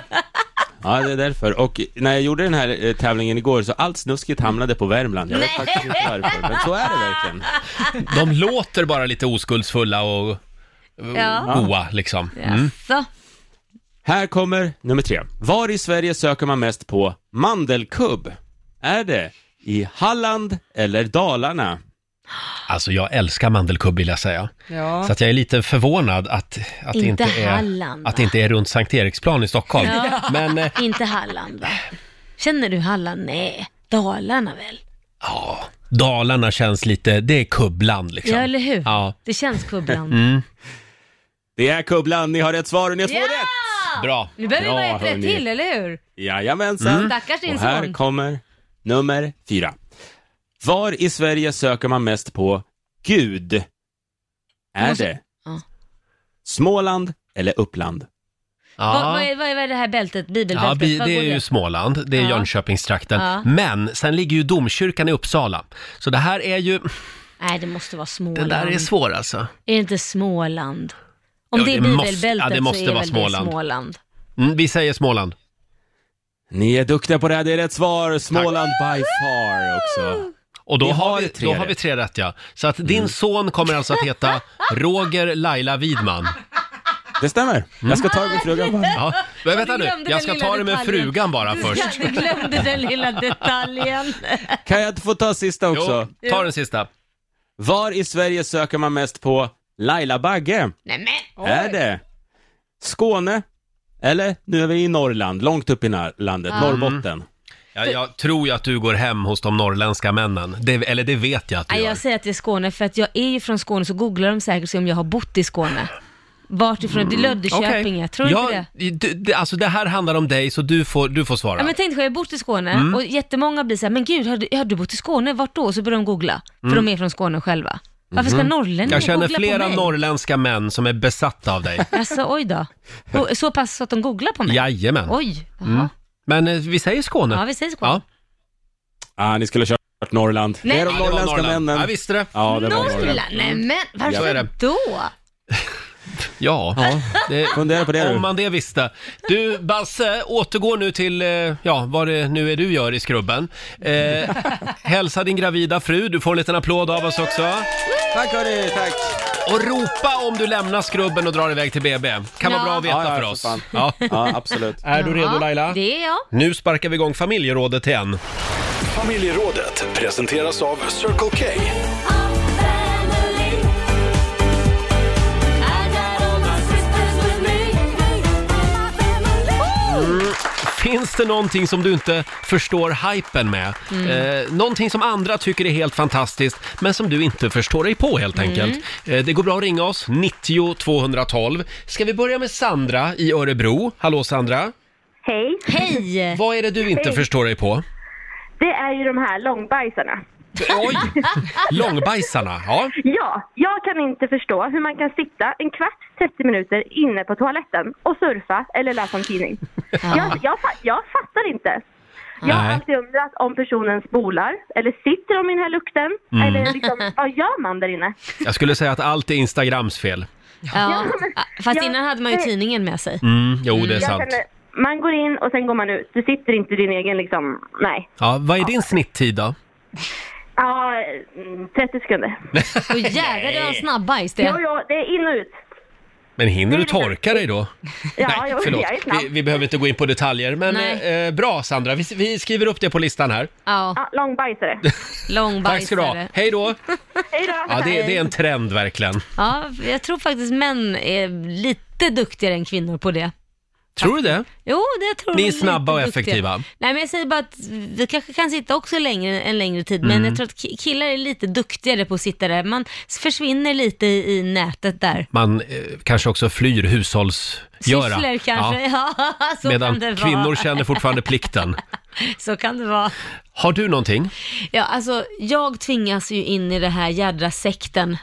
Ja, det är därför. Och när jag gjorde den här eh, tävlingen igår så allt snuskigt hamnade på Värmland. Jag vet faktiskt inte varför, men så är det verkligen.
de låter bara lite oskuldsfulla och
Mm.
Ja.
goa liksom. Mm.
Jaså?
Här kommer nummer tre. Var i Sverige söker man mest på mandelkubb? Är det i Halland eller Dalarna?
Alltså jag älskar mandelkubb vill jag säga.
Ja.
Så att jag är lite förvånad att, att, det
Inte
inte är,
Halland,
att det inte är runt Sankt Eriksplan i Stockholm. Men eh,
Inte Halland va? Känner du Halland? Nej. Dalarna väl?
Ja, Dalarna känns lite, det är kubbland liksom.
Ja, eller hur?
Ja, Mm.
Det känns Kubbland.
Det är Kubbland, ni har rätt svar och ni har två rätt!
bra.
Nu behöver vi
Bra,
bara ett rätt
hörni.
till, eller hur?
Jajamensan!
Stackars din
och här
son.
kommer nummer fyra. Var i Sverige söker man mest på Gud? Är
måste-
det
Ja.
Småland eller Uppland?
Vad,
Ja.
vad, är, vad är vad är det här bältet? Bibelbältet?
Ja, bi-
Vad
det
går
är ju Småland, det är
Ja.
Jönköpingstrakten.
Ja.
Men sen ligger ju domkyrkan i Uppsala. Så det här är ju,
Nej, det måste vara
den
Småland.
där är svår alltså.
Är det inte Småland? Om
Ja,
det är
det måste-
bibelbältet
ja, det måste
så är
vara
väl
Småland.
det Småland.
Mm, vi säger Småland.
Ni är duktiga på det här, det är rätt svar. Småland by far också.
Och då,
Vi
har
har
vi,
tre
då har
rätt. Mm.
vi tre rätt ja. Så att din son kommer alltså att heta Roger Laila Widman.
Det stämmer. Jag ska
Mm.
ta min frugan bara.
Ja. Men vänta
du
nu,
glömde den
jag ska
lilla
ta det med
detaljen.
frugan bara först.
Du glömde den lilla detaljen.
Kan jag få ta sista också?
Jo, ta den sista.
Var i Sverige söker man mest på Laila Bagge?
Nej men,
Är det Skåne? Eller, nu är vi i Norrland, långt upp i na- landet, Norrbotten.
Ja, jag tror ju att du går hem hos de norrländska männen. Det, eller det vet jag att du
Nej,
gör.
jag säger att det är Skåne för att jag är ju från Skåne så googlar de säkert sig om jag har bott i Skåne. Vart ifrån? Det är Löddeköpinge,
Mm, Okej.
tror du
ja,
inte det?
Du, det? Alltså det här handlar om dig så du får, du får svara.
Ja, men tänk dig, jag har bott i Skåne
Mm.
och jättemånga blir så här, men gud, har du, har du bott i Skåne? Vart då? Så börjar de googla, för de är från Skåne själva. Varför ska norrlänningar
Mm. jag känner
googla på
flera
mig?
norrländska män som är besatta av dig.
Alltså, oj då. Och, så pass så att de googlar på mig?
Jajamän.
Oj, jaha.
Men eh, vi säger Skåne.
Ja, vi säger Skåne.
Ah, ni skulle ha kört Norrland.
Nej.
Det är de
Ja,
det var
norrländska
Norrland.
männen.
Jag visste det.
Ja, det var Norrland.
Norrland? Nej men,
Så är
varför
det.
då?
Ja. Det,
Fundera på det
om
du.
man det visste. Du, Basse, återgår nu till, eh, ja, vad det nu är du gör i skrubben. Eh, hälsa din gravida fru, du får en liten applåd av oss också.
Tack hörni, tack.
Och ropa om du lämnar skrubben och drar iväg till BB. Kan vara
Ja.
bra att veta
Ja, ja,
för
för
oss.
fan.
Ja.
Ja, absolut.
Är du redo Laila?
Det är jag.
Nu sparkar vi igång familjerådet igen.
Familjerådet presenteras av Circle K.
Finns det någonting som du inte förstår hypen med? Eh, någonting som andra tycker är helt fantastiskt, men som du inte förstår dig på helt enkelt. Eh, det går bra att ringa oss, 90 212. Ska vi börja med Sandra i Örebro? Hallå Sandra!
Hej.
Hej!
Vad är det du inte förstår dig på?
Det är ju de här långbajsarna.
Oj! Långbajsarna, ja.
Ja, jag kan inte förstå hur man kan sitta en kvart, 30 minuter inne på toaletten och surfa eller läsa en tidning. Jag, jag, fa- jag fattar inte. Jag har
Nej.
alltid undrat om personen spolar, eller sitter de i den här lukten,
Mm.
eller liksom, vad gör man där inne?
Jag skulle säga att allt är Instagrams fel.
Ja. Fast
Ja,
innan hade man ju
det-
tidningen med sig.
Mm, jo, det är
Jag
sant.
känner, man går in och sen går man ut. Du sitter inte i din egen liksom, nej.
Ja, vad är din snitttid då?
Ja, mm, 30 sekunder.
Och jädrar, det var en snabbajs
Jo,
det.
jo, det är in och ut.
Men hinner du torka dig då?
Ja,
Nej,
jo,
förlåt.
jag är snabb.
Vi, vi behöver inte gå in på detaljer, men
Nej.
eh, bra Sandra, vi, vi skriver upp det på listan här.
Ja,
Ja, långbajsare.
långbajsare.
Tack ska du ha. Hej då!
Hej då!
Ja, det, det är en trend verkligen.
Ja, jag tror faktiskt män är lite duktigare än kvinnor på det.
Tror du det?
Jo, det jag tror
Ni
de
är
lite
snabba och
duktiga.
effektiva.
Nej, men jag säger bara att vi kanske kan sitta också längre, en längre tid,
Mm.
men jag tror att ki- killar är lite duktigare på att sitta där. Man försvinner lite i, i nätet där.
Man eh, kanske också flyr hushållsgöra.
Sysslor kanske,
Ja.
ja, så
Medan
kan det
kvinnor
vara.
känner fortfarande plikten.
Så kan det vara.
Har du någonting?
Ja, alltså jag tvingas ju in i det här jädra sekten,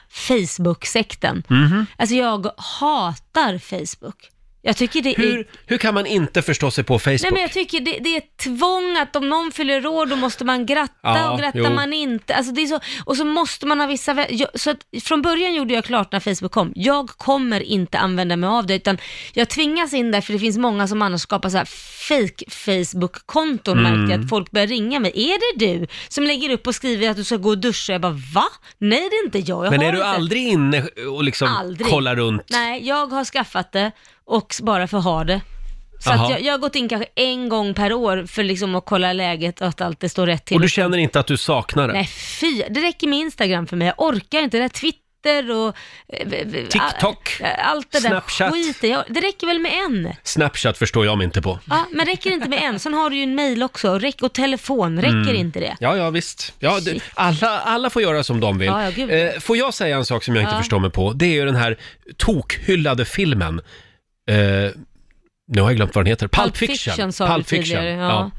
Facebook-sekten.
Mhm.
Alltså jag hatar Facebook. Jag tycker det är
Hur, hur kan man inte förstå sig på Facebook?
Nej men jag tycker det, det är ett tvång att om någon fyller år då måste man gratta
Ja,
och grattar
jo.
man inte. Alltså det är så, och så måste man ha vissa... vä- Jag, så att från början gjorde jag klart när Facebook kom, jag kommer inte använda mig av det utan jag tvingas in där för det finns många som annars skapar så här fake Facebook-konton
Mm.
märkte jag att folk börjar ringa mig. Är det du som lägger upp och skriver att du ska gå och duscha? Jag bara va? Nej det är inte jag. jag
Men
har
är du
inte.
aldrig inne och liksom
Aldrig.
kollar runt?
Nej, jag har skaffat det och s- bara för att ha det. Så
Jaha.
att jag, jag har gått in kanske en gång per år för liksom att kolla läget och att allt det står rätt till.
Och du känner inte att du saknar det?
Nej fy, det räcker med Instagram för mig. Jag orkar inte det där Twitter och... eh, v- v-
TikTok.
a- eh, Allt det
Snapchat.
där skiten. Jag, det räcker väl med en?
Snapchat förstår jag mig inte på.
Ja, men räcker det inte med en? Sen har du ju en mail också. Räck, och telefon,
Mm.
räcker inte det?
Ja, ja visst. Ja, det, alla, alla får göra som de vill.
Ja, ja, gud.
eh, får jag säga en sak som jag inte
Ja.
förstår mig på? Det är ju den här tokhyllade filmen. Eh, nu har jag glömt vad den heter. Pulp Fiction.
sa du tidigare. Ja.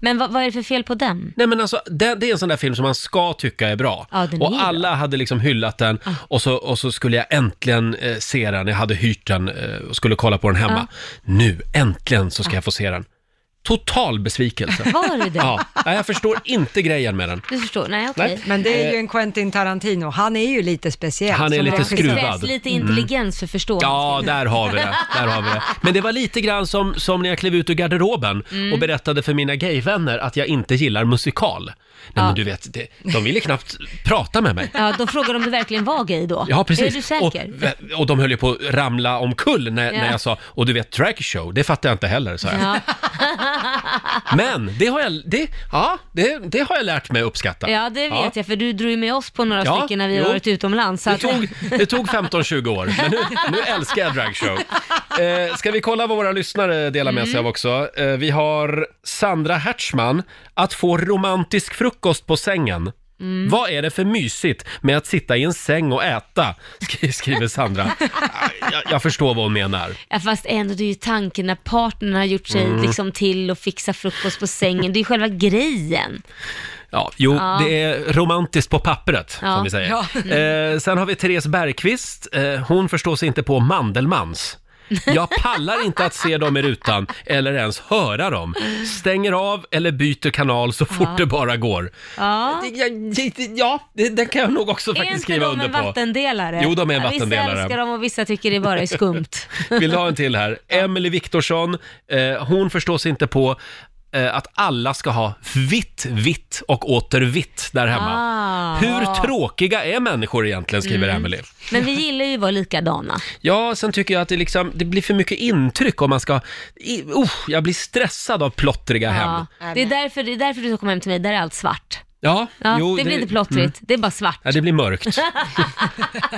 Men vad, vad är det för fel på den?
Nej men alltså, det, det är en sån där film som man ska tycka är bra.
Ja, den är
och
bra. Ah.
alla hade liksom hyllat den och, så, och så skulle jag äntligen eh, se den. Jag hade hyrt den eh, och skulle kolla på den
Ah.
hemma. Nu, äntligen så ska jag få se den. Total besvikelse.
Var det det?
Ja, nej, jag förstår inte grejen med den.
Du förstår? Nej, okej.
Nej.
Men det är ju en Quentin Tarantino, han är ju lite speciell.
Eh, Han är
som
lite
regissör.
skruvad. Mm.
Krävs lite intelligens för förståelse.
Ja, där har vi det. Där har vi det. Men det var lite grann som, som när jag klev ut ur garderoben
Mm.
och berättade för mina gayvänner att jag inte gillar musikal. Nej, men du vet, det, de ville knappt prata med mig.
Ja, då frågar de om du verkligen var gay då.
Ja, precis.
Är du säker?
Och, och de höll ju på att ramla omkull när,
Ja.
när jag sa, och du vet dragshow, det fattar jag inte heller, sa jag.
Ja.
Men det har jag, det, ja, det, det har jag lärt mig att uppskatta.
ja, det vet jag, för du drog ju med oss på några
Ja,
stycken när vi
jo.
har varit utomlands. Så
Det
att,
tog, det tog 15-20 år, men nu, nu älskar jag dragshow. Eh, ska vi kolla vad våra lyssnare delar med
Mm.
sig av också? Eh, vi har Sandra Hertzman, att få romantisk frukost på sängen.
Mm.
Vad är det för mysigt med att sitta i en säng och äta? Skri- Skriver Sandra. Jag, jag förstår vad hon menar.
Ja, fast ändå, det är ju tanken när partnern har gjort
Mm.
sig liksom till och fixa frukost på sängen. Det är ju själva grejen.
Ja, jo, det är romantiskt på pappret,
Ja.
som vi säger. Eh, sen har vi Therese Bergqvist. Eh, hon förstår sig inte på Mandelmans. Jag pallar inte att se dem i rutan eller ens höra dem. Stänger av eller byter kanal så fort det bara går.
Ja.
Det- Ja, det- ja det, det kan jag nog också
Är
faktiskt
inte
skriva
de
under
en
på.
vattendelare?
Jo, de är en
Ja,
vattendelare.
Vissa älskar dem och vissa tycker det bara är skumt.
Vill du ha en till här? Emily Viktorsson, eh, hon förstår sig inte på eh, att alla ska ha vitt, vitt och åter vitt där hemma.
Ah. Mm.
Hur tråkiga är människor egentligen, skriver Emily.
Men vi gillar ju att vara likadana.
Ja, sen tycker jag att det, liksom, det blir för mycket intryck om man ska... I, oh, jag blir stressad av plottriga hem.
Ja. Det, är därför, det är därför du ska komma hem till mig, där är allt svart.
Ja,
Ja,
jo, mm.
det blir inte plottrigt, det är bara svart.
Ja, det blir mörkt.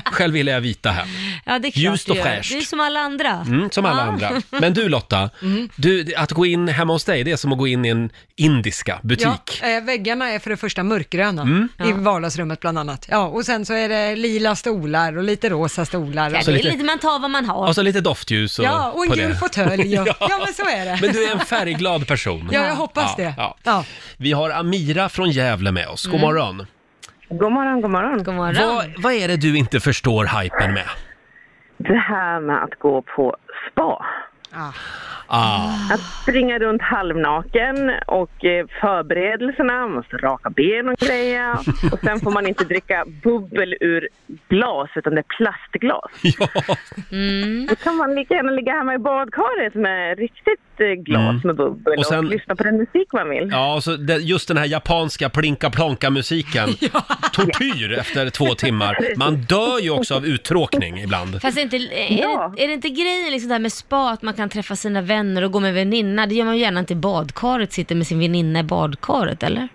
Själv vill jag vita hem.
Ja, det är klart
Ljust och
du gör.
fräscht.
Du är som alla andra.
Mm, som alla
Ja. Mm.
andra. Men du Lotta, du, att gå in hemma hos dig, det är som att gå in i en indiska
Ja,
butik.
eh, väggarna är för det första mörkgröna
Mm.
i vardagsrummet bland annat. Ja, och sen så är det lila stolar och lite rosa stolar.
Ja,
Och,
så
det är
Alltså lite-
lite, man tar vad man har.
Och så Alltså, lite doftljus. Och,
ja, och en
på
gul
det.
fåtölj. Ja. ja, men så är det.
Men du är en färgglad person.
Ja, jag hoppas
Ja,
det.
ja.
Ja.
Vi har Amira från Gävle med oss.
Mm.
God morgon.
God morgon, god morgon.
God morgon.
Vad, vad är det du inte förstår hypen med?
Det här med att gå på spa.
Ah.
Att springa runt halvnaken och eh, förberedelserna, man måste raka ben och greja. Och sen får man inte dricka bubbel ur glas utan det är plastglas.
Ja.
Då kan man lika gärna ligga hemma i badkaret med riktigt eh, glas
Mm.
med bubbel
Och
och,
sen-
lyssna på den musik man vill.
Ja, och så det, just den här japanska plinka-plonka-musiken. Tortyr efter två timmar. Man dör ju också av uttråkning ibland.
Fast är, inte, är,
Ja.
det, är det inte grejen liksom där med spa, att man kan träffa sina vänner och gå med väninna? Det gör man ju gärna inte i badkaret, sitter med sin väninna i badkaret, eller?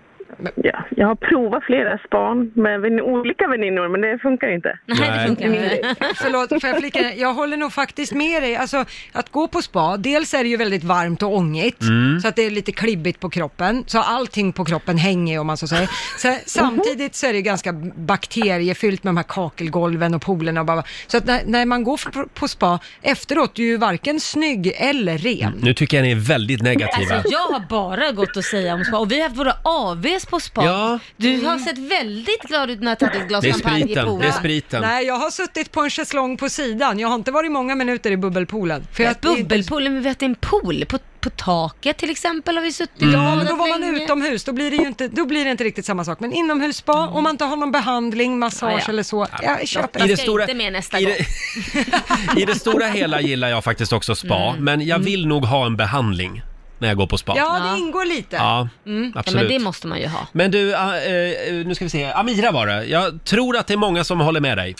Ja, jag har provat flera span med vän- olika väninnor men det funkar inte.
Nej,
Nej.
det funkar inte.
Förlåt, får jag flika in? Jag håller nog faktiskt med dig. Alltså, att gå på spa, dels är det ju väldigt varmt och ångigt, så att det är lite klibbigt på kroppen. Så allting på kroppen hänger om man så säger. Så, samtidigt så är det ju ganska bakteriefyllt med de här kakelgolven och poolerna och bara, Så att när, när man går f- på spa efteråt, du är ju varken snygg eller ren.
Nu tycker jag ni är väldigt negativa.
Alltså jag har bara gått att säga om spa och vi har haft våra AVs på spa.
Ja.
Du har sett väldigt glad ut när jag tagit ett glas
Det är
champagne i
spriten, det är
poolen.
spriten.
Nej, jag har suttit på en schäslong på sidan. Jag har inte varit många minuter i bubbelpoolen. För jag-
Bubbelpoolen, men vi har haft en pool. På, på taket till exempel har vi suttit
Mm.
Ja, men då var man utomhus, då blir det ju inte, då blir det inte riktigt samma sak. Men inomhusspa, om man inte har någon behandling, massage
Ja, ja.
eller så, jag köper
I
det.
det- ska inte med nästa
i, det, I det stora hela gillar jag faktiskt också spa,
Mm.
men jag vill nog ha en behandling när jag går på spa.
Ja, det ingår lite.
Ja,
Mm. Ja,
absolut.
men det måste man ju ha.
Men du, ah, eh, nu ska vi se. Amira var det. Jag tror att det är många som håller med dig.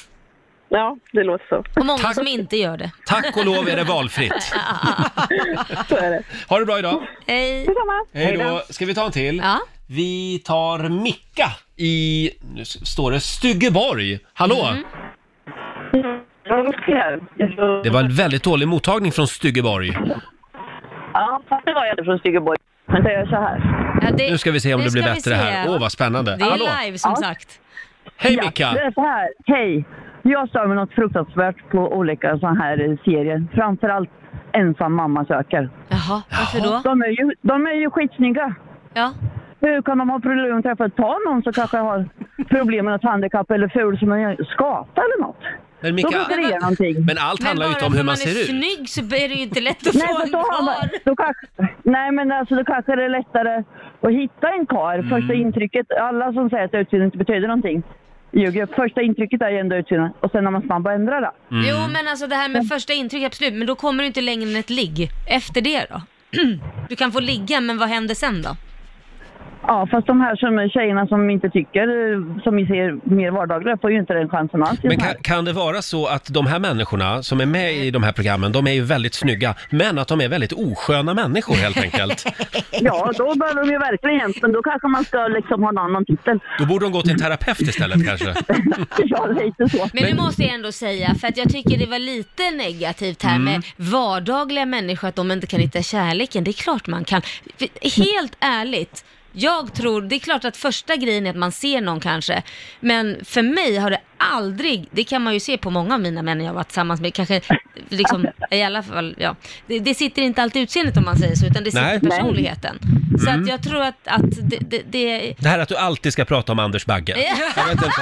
Ja, det låter så.
Och många
Tack.
som inte gör det.
Tack och lov är det valfritt.
Så är det.
Ha det bra idag.
Hej.
Detsamma.
Hej då. Ska vi ta en till?
Ja.
Vi tar Micka i, nu s- står det Styggeborg. Hallå!
Mm.
Ja, det ska jag.
Det var en väldigt dålig mottagning från Styggeborg.
Ja, fast det var jag från Styggeborg. Men det är så här.
Ja, det,
Nu ska vi se om det, blir
ska vi
bättre här.
se.
Åh, vad spännande.
Det är
Hallå!
live som sagt.
Hej
Det
Micka!
är så här. Hej! Jag stör mig något fruktansvärt på olika sådana här eh, serier. Framförallt ensam mamma söker.
Jaha, varför då?
De är ju, de är ju skitsnygga.
Ja.
Hur kan de ha problem att träffa ta någon som kanske har problem med något handikapp eller ful som en skata eller något?
Men
Då
Micka,
brukar det ge någonting.
men allt handlar ju inte om hur man ser
är
ut.
snygg så är det ju inte lätt att
Nej,
få
men
en
då har man,
kvar.
då kanske, nej men alltså då kanske det är lättare att hitta en kar.
Mm.
Första intrycket, alla som säger att utseende inte betyder någonting ljuger. Första intrycket är ju ändå utseende och sen när man snabbt ändrar det.
Mm.
Jo, men alltså det här med första intryck, absolut. Men då kommer du inte längre än ett ligg. Efter det då? Du kan få ligga, men vad händer sen då?
Ja fast de här som tjejerna som inte tycker, som vi ser mer vardagliga får ju inte den chansen alls. i
Men
de här.
kan, kan det vara så att de här människorna som är med i de här programmen, de är ju väldigt snygga, men att de är väldigt osköna människor helt enkelt?
Ja då behöver de ju verkligen hjälp men då kanske man ska liksom ha en annan titel.
Då borde de gå till en terapeut istället kanske.
ja lite så.
Men, det måste jag ändå säga, för att jag tycker det var lite negativt här med vardagliga människor, att de inte kan hitta kärleken. Det är klart man kan. För- Helt ärligt, jag tror, det är klart att första grejen är att man ser någon kanske, men för mig har det aldrig, det kan man ju se på många av mina män jag har varit tillsammans med, kanske liksom, i alla fall, ja. Det, det sitter inte alltid i utseendet om man säger så, utan det sitter
Nej.
i personligheten. Så att jag tror att, att det, det, det
Det här att du alltid ska prata om Anders Bagge. Jag vet inte.
Nej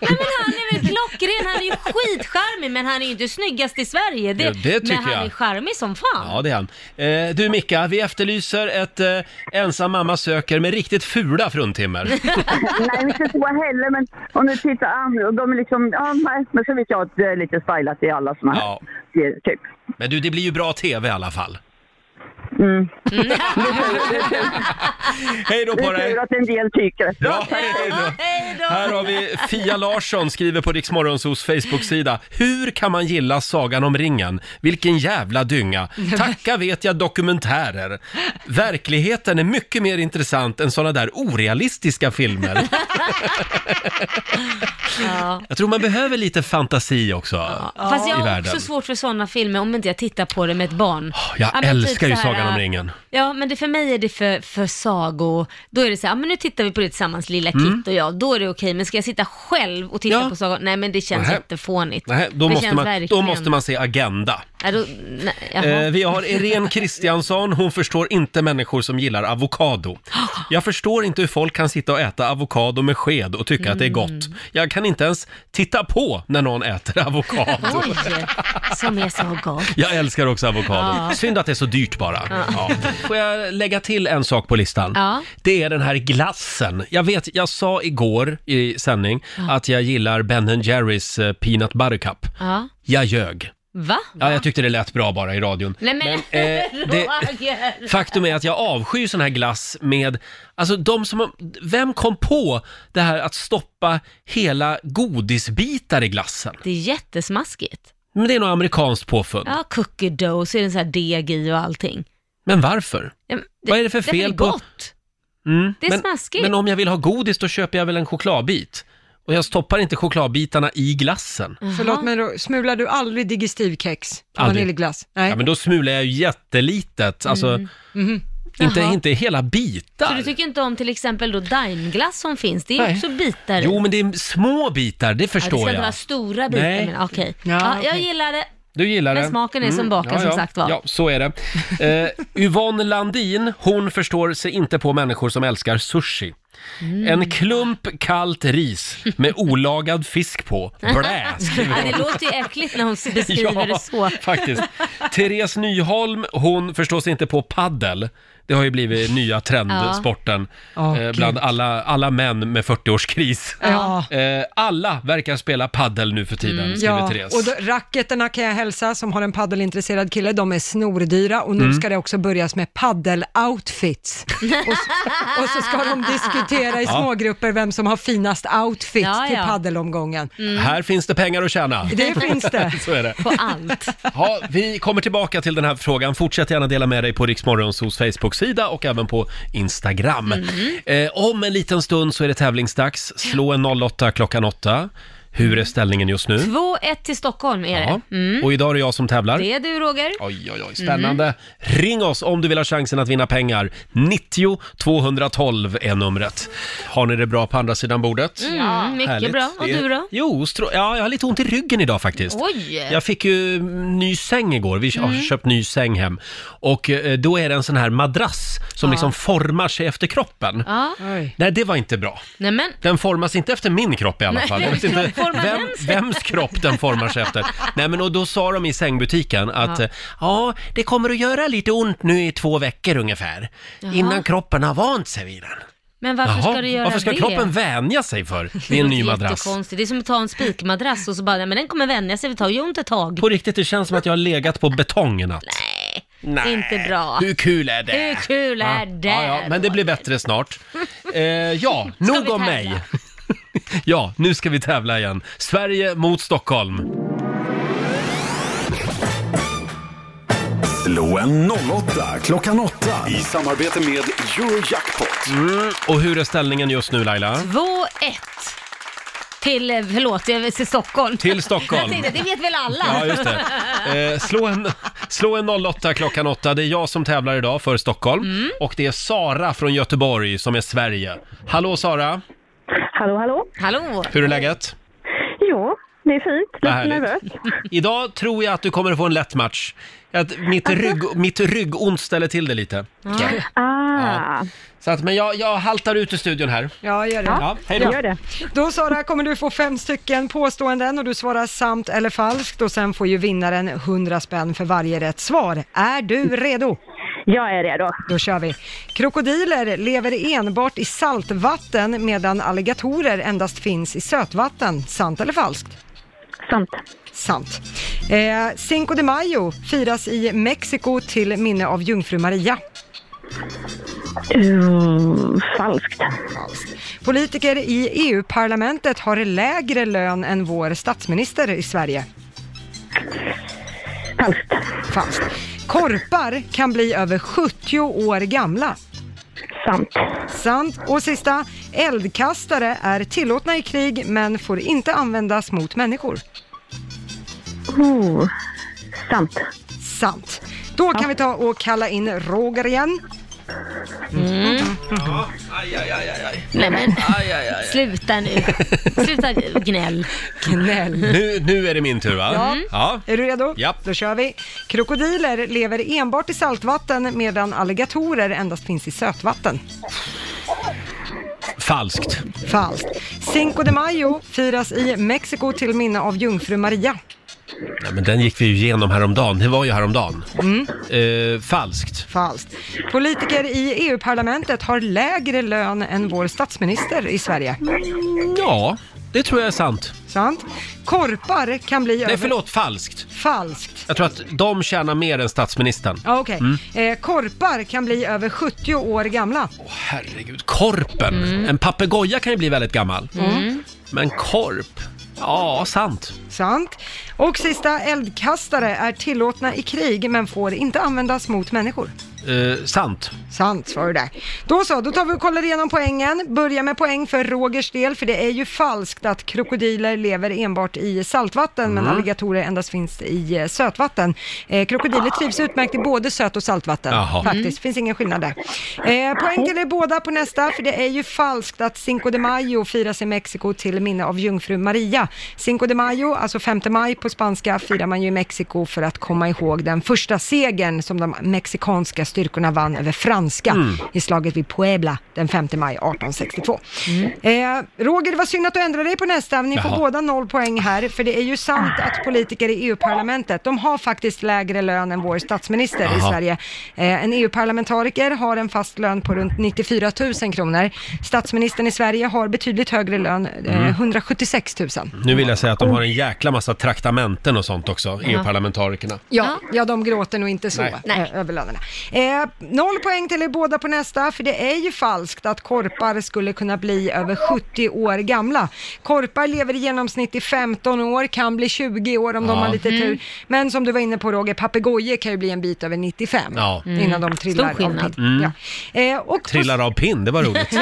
men han är väl klockren, han är ju skitcharmig men han är ju inte snyggast i Sverige.
Jo, det tycker
men
jag.
han är charmig som fan.
Ja, det är han. Eh, du Micka, vi efterlyser ett eh, ensam mamma söker med riktigt fula fruntimmer.
Nej, inte så heller, men om du tittar an, och de är liksom, ja, nej, men så vet jag att det är lite stylat i alla såna här
Ja.
serier, typ.
Men du, det blir ju bra tv i alla fall. Hej då
Det
på
är
dig!
tur att en del tycker.
Ja, hej då.
Hej då!
Här har vi Fia Larsson skriver på Riksmorgonsos Facebook-sida. Hur kan man gilla Sagan om ringen? Vilken jävla dynga! Tacka vet jag dokumentärer. Verkligheten är mycket mer intressant än såna där orealistiska filmer.
Ja.
Jag tror man behöver lite fantasi också
Fast jag
i
har
världen. Ah,
också svårt för sådana filmer om inte jag tittar på det med ett barn.
Jag
Ja, men typ
älskar ju
så här,
Sagan om
äh,
ringen.
Ja, men det, för mig är det för, för sago. Då är det så här, ja, men nu tittar vi på det tillsammans, lilla Kit och jag. Då är det okej, men ska jag sitta själv och titta
Mm. Ja.
på sagan? Nej, men det känns
Nej.
jättefånigt.
Nej, då,
det
måste
känns
man, då
verkligen-
måste man se Agenda.
Nej, då, nej, jaha.
Eh, vi har Irene Kristiansson, hon förstår inte människor som gillar avokado. Jag förstår inte hur folk kan sitta och äta avokado med sked och tycka att det är gott.
Mm.
Jag kan inte ens titta på när någon äter avokado.
Oj, som är så god.
Jag älskar också avokado.
Ja.
Synd att det är så dyrt bara. Ja. Får jag lägga till en sak på listan?
Ja.
Det är den här glassen. Jag vet, jag sa igår i sändning att jag gillar Ben Jerrys eh, Peanut Butter Cup.
Ja.
Jag ljög.
Va?
Ja, jag tyckte det lät bra bara i radion.
Nej men,
eh, det,
Roger!
faktum är att jag avskyr sån här glass med, alltså de som, vem kom på det här att stoppa hela godisbitar i glassen?
Det är jättesmaskigt.
Men det är något amerikanskt påfund.
Ja, cookie dough, så är det så här deg i och allting.
Men varför?
Ja, men
Vad är det för
därför
fel
det är
på-
gott.
Mm.
Det är
men,
smaskigt.
Men om jag vill ha godis då köper jag väl en chokladbit? Och jag stoppar inte chokladbitarna i glassen.
Förlåt men då, smular du aldrig digestivkex? på
Aldrig.
Vaniljglass? Nej.
Ja, men då smular jag ju jättelitet, alltså Inte,
Mm. Mm-hmm. Jaha.
inte hela bitar.
Så du tycker inte om till exempel då daimglass som finns? Det är
Nej.
också bitar i.
Jo, men det är små bitar, det
ja, Det ska
förstår
inte vara
jag.
stora bitar,
Nej.
men okej.
Ja,
Ja, Jag
okej.
gillar det.
Du gillar
Men
det.
smaken är som baken, som sagt var.
Ja, så är det. Eh, Yvonne Landin, hon förstår sig inte på människor som älskar sushi.
Mm.
En klump kallt ris med olagad fisk på. Blä, skriver
Ja,
hon.
det låter ju äckligt när hon beskriver det så.
faktiskt. Therese Nyholm, hon förstår sig inte på paddel. Det har ju blivit nya trendsporten
Ja.
eh,
Åh,
bland
Gud.
alla, alla män med 40-årskris.
Ja.
Eh, alla verkar spela paddel nu för tiden, skriver
Ja,
Therese.
och då, racketerna kan jag hälsa som har en paddelintresserad kille, de är snordyra och nu ska det också börjas med paddeloutfits. och, s- och så ska de diskutera i smågrupper vem som har finast outfit
Ja,
till
ja.
paddelomgången.
Här finns det pengar att tjäna.
Det finns det.
Så är det.
På allt.
Ja, vi kommer tillbaka till den här frågan. Fortsätt gärna dela med dig på Riksmorgonsos Facebook-sida och även på Instagram.
Mm.
Eh, om en liten stund så är det tävlingsdags. Slå en 08 klockan 8. Hur är ställningen just nu?
2-1 till Stockholm är
Ja.
det. Mm.
Och idag är det jag som tävlar.
Det Mm. är du Roger.
Oj, oj, oj, spännande. Ring oss om du vill ha chansen att vinna pengar. 90 212 är numret. Har ni det bra på andra sidan bordet?
Mm, mycket
Härligt.
bra. Och
Det är-
du då?
Jo, stro- ja, jag har lite ont i ryggen idag faktiskt.
Oj! Mm.
Jag fick ju mm, ny säng igår, vi har köpt ny säng hem. Och eh, då är det en sån här madrass som liksom formar sig efter kroppen.
Ja,
Oj.
Nej, det var inte bra.
nej men.
Den formas inte efter min kropp i alla
Nej,
fall. Jag vet
hur
inte
formar
vem,
den sig?
vems kropp den formar sig efter. Nej, men och då sa de i sängbutiken att ja, ja det kommer att göra lite ont nu i två veckor ungefär. Innan kroppen har vant sig vid den.
Men varför
Jaha,
ska du göra
varför ska
det?
kroppen vänja sig för vid en ny madrass?
Jättekonstigt. Det är som att ta en spikmadrass och så bara, nej, men den kommer vänja sig, vi tar ju ont ett tag.
På riktigt, det känns som att jag har legat på betong i natt.
Nej, inte bra.
Hur kul är det?
Hur kul är det?
Ja, ja, men det blir bättre snart. Eh, ja, nog
vi
om
tävla?
mig. ja, nu ska vi tävla igen. Sverige mot Stockholm.
Slå en 08 klockan 8 i samarbete med Eurojackpot.
Och hur är ställningen just nu Laila?
2-1 till, eh, förlåt, jag- till Stockholm.
Till Stockholm.
Jag tänkte, det vet väl alla?
Ja, just det. Eh, slå, en, slå en 08 klockan 8. Det är jag som tävlar idag för Stockholm.
Mm.
Och det är Sara från Göteborg som är Sverige. Hallå Sara,
Hallå, hallå.
Hallå?
hur är läget?
Jo, det är fint.
Vad
Lite
härligt.
nervös.
Idag tror jag att du kommer att få en lätt match. Att mitt, rygg, mitt ryggont ställer till det lite.
Ah,
Så att, men jag, jag haltar ut i studion här.
Ja, gör det.
Ja, hej
ja.
då.
gör det.
Då Sara kommer du få fem stycken påståenden och du svarar sant eller falskt och sen får ju vinnaren 100 spänn för varje rätt svar. Är du redo?
Jag är redo.
Då kör vi. Krokodiler lever enbart i saltvatten medan alligatorer endast finns i sötvatten. Sant eller falskt?
Sant.
Sant. Eh, Cinco de Mayo firas i Mexiko till minne av jungfru Maria.
Mm, falskt.
Falskt. Politiker i EU-parlamentet har lägre lön än vår statsminister i Sverige.
Falskt.
Falskt. Korpar kan bli över 70 år gamla.
Sant.
Sant. Och sista, eldkastare är tillåtna i krig men får inte användas mot människor.
Oh, sant.
Sant. Då kan vi ta och kalla in Roger igen.
Aj, aj, aj, aj, aj.
Nej men,
aj, aj, aj.
sluta nu. Sluta gnäll.
Gnäll.
Nu, nu är det min tur va?
Ja.
ja.
Är du redo?
Japp.
Då kör vi. Krokodiler lever enbart i saltvatten medan alligatorer endast finns i sötvatten.
Falskt.
Falskt. Cinco de Mayo firas i Mexiko till minne av jungfru Maria.
Nej, men den gick vi ju igenom häromdagen. Det var ju häromdagen. Eh, falskt.
Falskt. Politiker i EU-parlamentet har lägre lön än vår statsminister i Sverige.
Ja, det tror jag är sant.
Sant? Korpar kan bli
Nej,
över...
förlåt. Falskt.
Falskt.
Jag tror att de tjänar mer än statsministern.
Ja, okej.
Mm.
Eh, korpar kan bli över 70 år gamla.
Herregud, korpen. En papegoja kan ju bli väldigt gammal. Men korp? Ja, sant.
Sant. Och sista, eldkastare är tillåtna i krig men får inte användas mot människor.
Eh, sant.
Sant svar det där. Då så, då tar vi och kollar igenom poängen. Börja med poäng för Rogers del, för det är ju falskt att krokodiler lever enbart i saltvatten, men alligatorer endast finns i eh, sötvatten. Eh, krokodiler trivs utmärkt i både söt och saltvatten,
Jaha.
faktiskt. Finns ingen skillnad där. Eh, poäng till er båda på nästa, för det är ju falskt att Cinco de Mayo firas i Mexiko till minne av jungfru Maria. Cinco de Mayo, alltså 5 maj på spanska, firar man ju i Mexiko för att komma ihåg den första segern som de mexikanska styrkorna vann över franska i slaget vid Puebla den 5 maj 1862. Eh, Roger, det var synd att du ändrade dig på nästa, men ni
Jaha.
får båda noll poäng här, för det är ju sant att politiker i EU-parlamentet, de har faktiskt lägre lön än vår statsminister i
Jaha.
Sverige. Sverige. Eh, En EU-parlamentariker har en fast lön på runt 94 000 kronor. Statsministern i Sverige har betydligt högre lön, eh, 176 000.
Nu vill jag säga att de har en jäkla massa traktamenten och sånt också, EU-parlamentarikerna.
Ja, ja, de gråter nog inte så
Nej.
eh, över lönerna. Eh, noll poäng till er båda på nästa, för det är ju falskt att korpar skulle kunna bli över 70 år gamla. Korpar lever i genomsnitt i 15 år, kan bli 20 år om de
Ja.
har lite tur. Men som du var inne på Roger, papegojor kan ju bli en bit över 95
Ja. Mm.
innan de trillar av
skillnad.
pinn. Ja. Eh, och på
Trillar av pinn, det var roligt.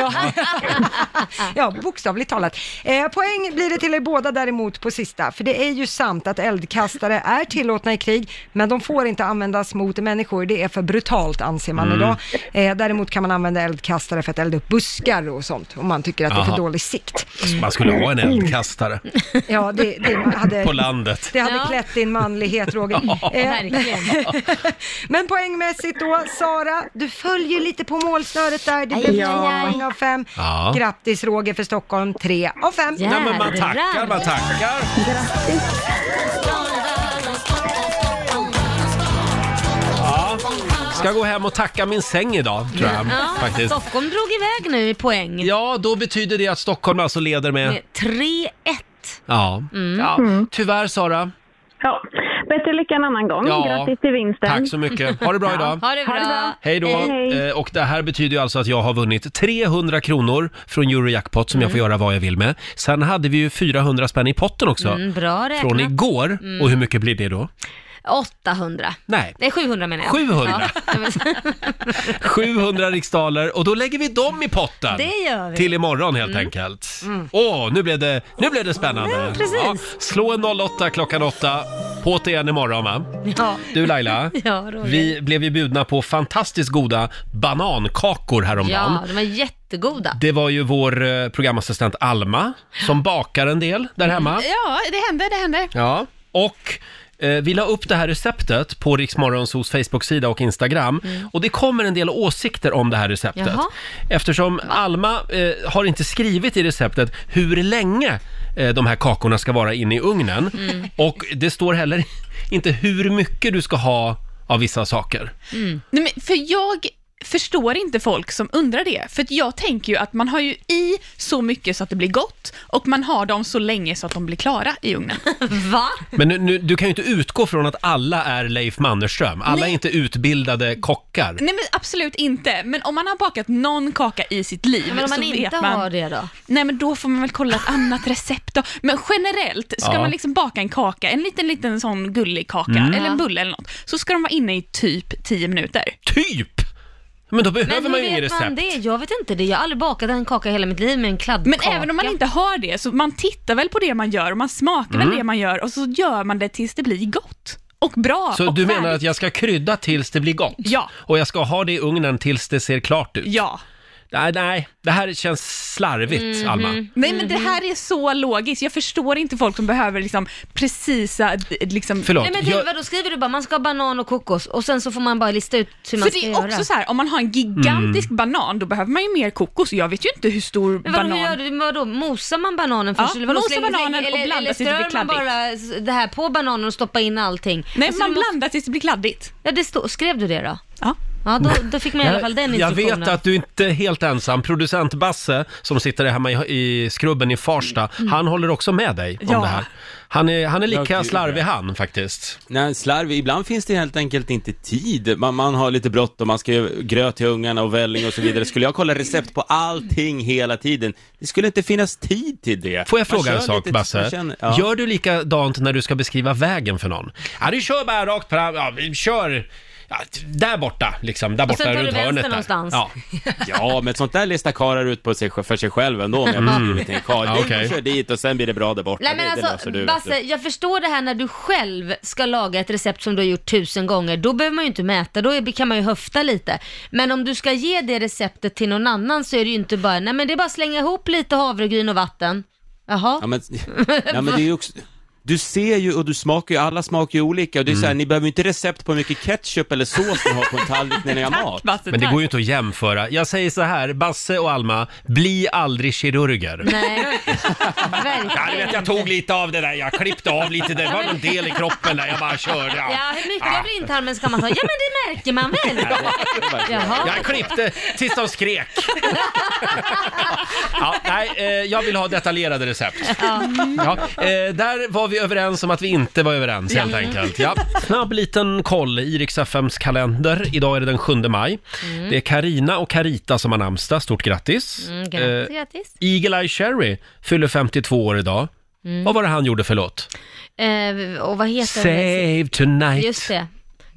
Ja, bokstavligt talat. Eh, poäng blir det till er båda däremot på sista, för det är ju sant att eldkastare är tillåtna i krig, men de får inte användas mot människor. Det är för brutalt anser
Mm.
man idag. Eh, däremot kan man använda eldkastare för att elda upp buskar och sånt, om man tycker att det är
Aha.
för dålig sikt.
Man skulle ha en eldkastare
Ja, det, det hade...
på landet.
Det hade
Ja.
klätt din manlighet, Roger. Eh,
verkligen.
men poängmässigt då, Sara, du följer lite på målsnöret där. Det
Aj,
blev
aj,
två
aj.
poäng av fem.
Ja.
Grattis, Roger, för Stockholm. Tre av fem.
Ja.
Nej, men man tackar, man tackar. Ja. Ska gå hem och tacka min säng idag, tror jag.
Ja,
Faktiskt.
Stockholm drog iväg nu i poäng. Eh,
Ja, då betyder det att Stockholm alltså leder med...
Med 3-1.
Ja. ja. Tyvärr Sara.
Ja, bättre lycka en annan gång.
Ja.
Grattis till vinsten.
Tack så mycket. Ha det bra idag.
Ha det bra.
Hej då!
Hej.
Eh, Och det här betyder ju alltså att jag har vunnit 300 kronor från Eurojackpot som
Mm.
jag får göra vad jag vill med. Sen hade vi ju 400 spänn i potten också.
Mm, bra räknat.
Från igår. Och hur mycket blir det då?
800.
Nej.
Nej, 700 menar jag.
700.
Ja, men-
700 riksdaler och då lägger vi dem i potten.
Det gör vi. Mm.
Till imorgon helt enkelt. Åh, nu blev det, nu blev det spännande.
Ja, precis.
slå en 08 klockan 8. På det igen imorgon va?
Ja.
Du Laila,
Ja, Roger.
vi blev ju bjudna på fantastiskt goda banankakor häromdagen.
ja, de är jättegoda.
Det var ju vår eh, programassistent Alma som bakar en del där hemma.
Mm, Ja, det händer, det händer.
Ja. Och eh, vi la upp det här receptet på Riksmorgonsos Facebook-sida och Instagram.
Mm.
Och det kommer en del åsikter om det här receptet.
Jaha.
Eftersom Alma eh, har inte skrivit i receptet hur länge eh, de här kakorna ska vara inne i ugnen.
Mm.
Och det står heller inte hur mycket du ska ha av vissa saker.
Nej, men för jag förstår inte folk som undrar det, för att jag tänker ju att man har ju i så mycket så att det blir gott och man har dem så länge så att de blir klara i ugnen.
Va?
Men nu, nu, du kan ju inte utgå från att alla är Leif Mannerström. Alla är
Nej.
inte utbildade kockar.
Nej men absolut inte, men om man har bakat någon kaka i sitt liv
Men om man
så vet
inte
man...
har det då?
Nej men då får man väl kolla ett annat recept då. Men generellt, ska
Ja. Mm.
man liksom baka en kaka, en liten liten sån gullig kaka eller en bulle eller något, så ska de vara inne i typ 10 minuter.
Typ! Men då behöver
Men
man
hur
ju inget
vet
recept.
man det? Jag vet inte det. Jag har aldrig bakat en kaka i hela mitt liv med en
Men
kladdkaka.
även om man inte har
Mm.
det, så man tittar väl på det man gör och man smakar väl det man gör och så gör man det tills det blir gott. och bra
Så
och
du menar
värdigt.
att jag ska krydda tills det blir gott?
Ja.
Och jag ska ha det i ugnen tills det ser klart ut?
Ja.
Nej, nej, det här känns slarvigt,
Mhm.
Alma.
Nej men det här är så logiskt, jag förstår inte folk som behöver liksom precisa, d- liksom...
Förlåt,
Nej men det, vadå, skriver du bara man ska ha banan och kokos och sen så får man bara lista ut hur
För
man ska
det
göra.
är också så här, om man har en gigantisk
Mm.
banan då behöver man ju mer kokos. Jag vet ju inte hur stor
Men vadå,
banan...
hur gör du? Vadå, mosar man bananen
Ja,
först? eller vadå,
mosa
slänger-
bananen och
eller,
blanda
eller
tills det blir
strör man bara s- det här på bananen och stoppar in allting?
Nej,
Alltså,
man
du måste-
blandar tills det blir kladdigt.
Ja, det stod, skrev du det då?
Ja.
Ja, då, då fick man i alla fall den
jag
instruktionen.
vet att du inte är helt ensam. Producent Basse, som sitter hemma i, i skrubben i Farsta,
Mm.
han håller också med dig om
Ja.
det här. Han är, han är lika
Ja, gud,
slarvig han faktiskt.
Nej, slarv, ibland finns det helt enkelt inte tid. Man, man har lite bråttom, man ska göra gröt till ungarna och välling och så vidare. Skulle jag kolla recept på allting hela tiden, det skulle inte finnas tid till det.
Får jag
Man
fråga en
kör
sak
lite-
Basse?
man känner- ja.
Gör du likadant när du ska beskriva vägen för någon? Ja, du kör bara rakt fram, ja, vi kör ja, där borta liksom, där
Och sen
borta
tar du
runt
vänster
hörnet där.
någonstans.
Ja.
Ja, men sånt där listar karlar ut på sig, för sig själv ändå om jag
Mm.
har blivit en karl.
Ja,
Det är
okej.
man kör dit och sen blir det bra där borta.
Nej
Det-
men
det löser
alltså
du, vet
Basse,
du.
jag förstår det här när du själv ska laga ett recept som du har gjort tusen gånger. Då behöver man ju inte mäta, då är- kan man ju höfta lite. Men om du ska ge det receptet till någon annan så är det ju inte bara, nej men det är bara att slänga ihop lite havregryn och vatten. Jaha?
Ja, men, ja, men det är ju också... Du ser ju och du smakar ju, alla smakar ju olika. Och det är
Mm.
så här, ni behöver ju inte recept på hur mycket ketchup eller sås ni har på en tallrik när ni har mat.
Men det går ju inte att jämföra. Jag säger så här, Basse och Alma, bli aldrig kirurger.
Nej,
Ja,
verkligen.
du vet, jag tog lite av det där, jag klippte av lite, det var någon del i kroppen där, jag bara körde. Ja.
Ja, hur mycket av blindtarmen ska man ta? Ja, men det märker man väl? Jaha.
Jag klippte tills de skrek. Ja, nej, eh, jag vill ha detaljerade recept.
Ja.
Ja, eh, där var vi överens om att vi inte var överens helt
Ja.
enkelt. Ja. Snabb liten koll i Rix FMs kalender. Idag är det den 7 maj.
Mm.
Det är Karina och Carita som har namnsdag. Stort grattis.
Mm, grattis,
Eh,
grattis.
Eagle-Eye Cherry fyller 52 år idag.
Mm.
Vad var det han gjorde för låt?
Eh, och vad heter det?
Save tonight.
Just det.